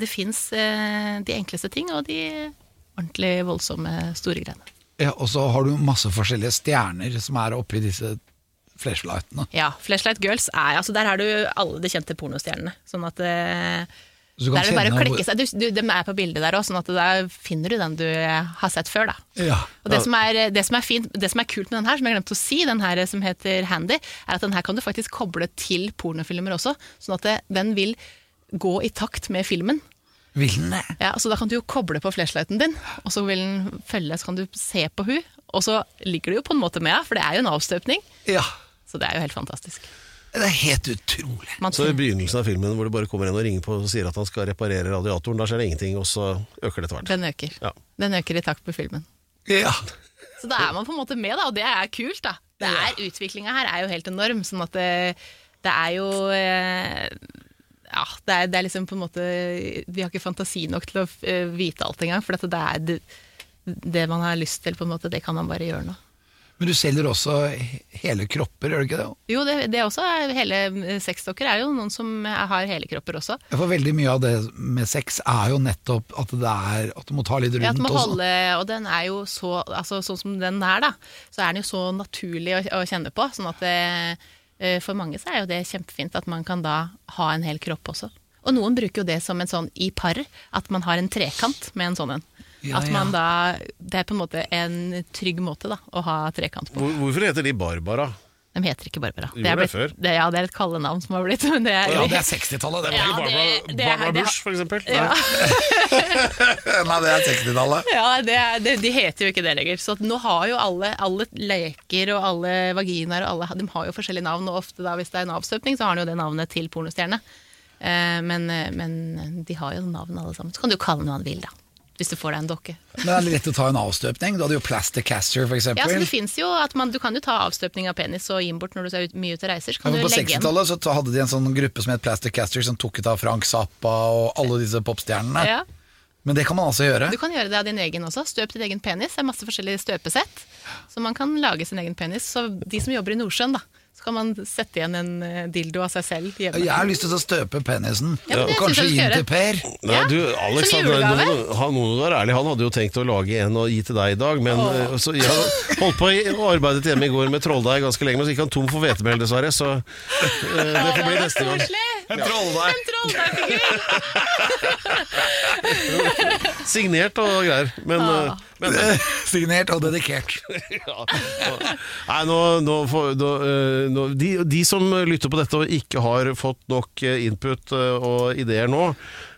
E: det fins eh, de enkleste ting, og de ordentlig voldsomme, store greiene.
C: Ja, og så har du masse forskjellige stjerner som er oppi disse flashlightene.
E: Ja, Flashlight Girls er altså Der har du alle de kjente pornostjernene. Sånn at eh,
C: Så du kan
E: Der er det bare å
C: kjenne hvor-
E: klikke seg. Du, du, de er på bildet der òg, sånn at der finner du den du har sett før. da.
C: Ja.
E: Og det som, er, det, som er fint, det som er kult med den her, som jeg glemte å si, den her som heter Handy, er at den her kan du faktisk koble til pornofilmer også, sånn at det, den vil gå i takt med filmen.
C: Vilne.
E: Ja, så da kan du jo koble på flashlighten din, og så vil den følge, så kan du se på hun, og så ligger du jo på en måte med henne, for det er jo en avstøpning.
C: Ja.
E: Så det er jo helt fantastisk.
C: Det er helt utrolig.
E: Man
B: Så i begynnelsen av filmen hvor det bare kommer en og ringer på og sier at han skal reparere radiatoren, da skjer det ingenting, og så øker det etter hvert.
E: den øker.
B: Ja.
E: Den øker i takt med filmen.
C: Ja.
E: Så da er man på en måte med, da, og det er kult. da. Det er, Utviklinga her er jo helt enorm. sånn at det, det er jo eh, ja, det er, det er liksom på en måte Vi har ikke fantasi nok til å eh, vite alt engang. For at det er det, det man har lyst til, på en måte, det kan man bare gjøre nå.
C: Men du selger også he- hele kropper, gjør du ikke det?
E: Jo, det, det er også er hele eh, sexdokker er jo noen som har hele kropper også.
C: Ja, For veldig mye av det med sex er jo nettopp at, det er, at du må ta litt rundt.
E: Ja, at man
C: og sånn.
E: holde, og den er jo så altså, Sånn som den er, da, så er den jo så naturlig å, å kjenne på. Sånn at det, eh, for mange så er jo det kjempefint at man kan da ha en hel kropp også. Og noen bruker jo det som en sånn i par, at man har en trekant med en sånn en.
C: Ja,
E: at man da Det er på en måte en trygg måte da, å ha trekant på.
B: Hvor, hvorfor heter de Barbara?
E: De heter ikke Barbara.
B: Gjorde
E: er
B: det
E: blitt-
B: før?
E: det, ja, det er et kallenavn som har blitt men det er,
C: Ja, det er 60-tallet, det.
E: Ja,
C: var
E: det-
B: Barbara,
E: det-
B: Barbara
E: det-
B: Bush, for eksempel?
E: Ja.
B: Nei.
C: ikke- Nei, det er 60-tallet.
E: Ja, det er, det, de heter jo ikke det lenger. Så at nå har jo alle, alle leker og alle vaginaer og alle, De har jo forskjellige navn, og ofte da hvis det er en avstøpning, så har de jo det navnet til pornostjerne. Eh, men, men de har jo navn alle sammen. Så kan du jo kalle den hva du vil, da. Hvis du får deg en dokke.
C: Men det er lett å ta en avstøpning. Du hadde jo plastic caster, for
E: Ja, så
C: eksempel.
E: det finnes jo at man, Du kan jo ta avstøpning av penis og gi den bort når du er ut, mye ute og reiser. Så
C: Ja,
E: kan
C: men
E: du
C: på
E: legge igjen.
C: 60-tallet så ta- hadde de en sånn gruppe som het Plastic Caster, som tok ut av Frank Zappa og alle disse popstjernene.
E: Ja,
C: Men det kan man altså gjøre.
E: du kan gjøre det av din egen også. Støp din egen penis. Det er masse forskjellige støpesett. Så man kan lage sin egen penis. Så de som jobber i Nordsjøen, da, så kan man sette igjen en eh, dildo av seg selv hjemme.
C: Jeg har lyst til å støpe penisen.
E: Ja, men
C: og
E: det synes
C: kanskje
E: jeg vi
C: inn
E: skal
C: til
E: gjøre.
C: Per.
B: Nei,
E: Ja,
B: du, Alex,
E: som
B: han,
E: julegave.
B: nå- han, nå må du være ærlig, han hadde jo tenkt å lage en og gi til deg i dag, men eh, så, jeg hadde holdt på i- og arbeidet hjemme i går med trolldeig ganske lenge, men så gikk han tom for hvetemel, dessverre, så eh, det får bli neste gang.
E: Koselig!
B: En trolldeig,
E: En trolldeigfigur!
B: signert og greier. Men, eh, men
C: Signert og dedikert.
B: Ja. Nei, nå, nå, får- nå, eh, nå de, de som lytter på dette og ikke har fått nok eh, input eh, og ideer nå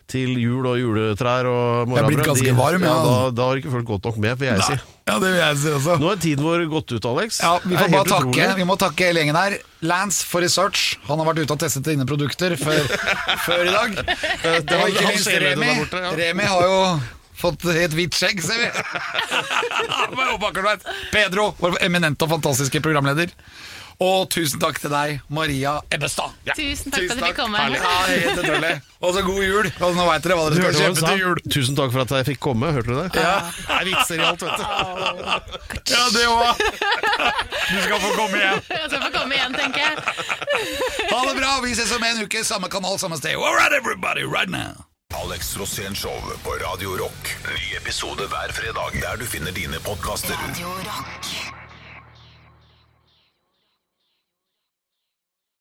B: til jul og juletrær og
C: Jeg er blitt
B: morrabrød,
C: ganske
B: de-
C: varm,
B: ja,
C: ja.
B: da, da har ikke folk godt nok med, vil jeg si.
C: Ja, det vil jeg si også.
B: Nå er tiden vår gått ut, Alex.
C: Ja, vi
B: Det
C: får
B: er
C: bare
B: helt
C: takke
B: utrolig.
C: Vi må takke hele gjengen her. Lance for research. Han har vært ute og testet dine produkter før, før i dag. Eh, Det var
B: han-
C: ikke
B: han
C: minst
B: ser det
C: Remi.
B: der borte, ja.
C: Remi har jo fått helt hvitt skjegg, ser vi. Men jo, bakker du vet. Pedro, vår eminente og fantastiske programleder. Og tusen takk til deg, Maria Ebbestad.
E: Tusen takk for at du fikk komme.
C: Herlig. Ja, helt utrolig. Og så god jul. Og nå veit dere hva
B: Du
C: dere
B: hørte hva hun
C: skal kjøpe
B: sa?
C: til jul.
B: Tusen takk for at jeg fikk komme, hørte du det?
C: Ja.
B: Det er vitser i alt, vet du.
C: Ja, det òg. Du skal få komme igjen.
E: Jeg skal få komme igjen, tenker jeg.
C: Ha det bra. Vi ses om en uke. Samme kanal, samme sted. All right, everybody, right now.
D: Alex Rosén Show på Radio Rock. Ny episode hver fredag der du finner dine podkaster.
F: Radio Rock.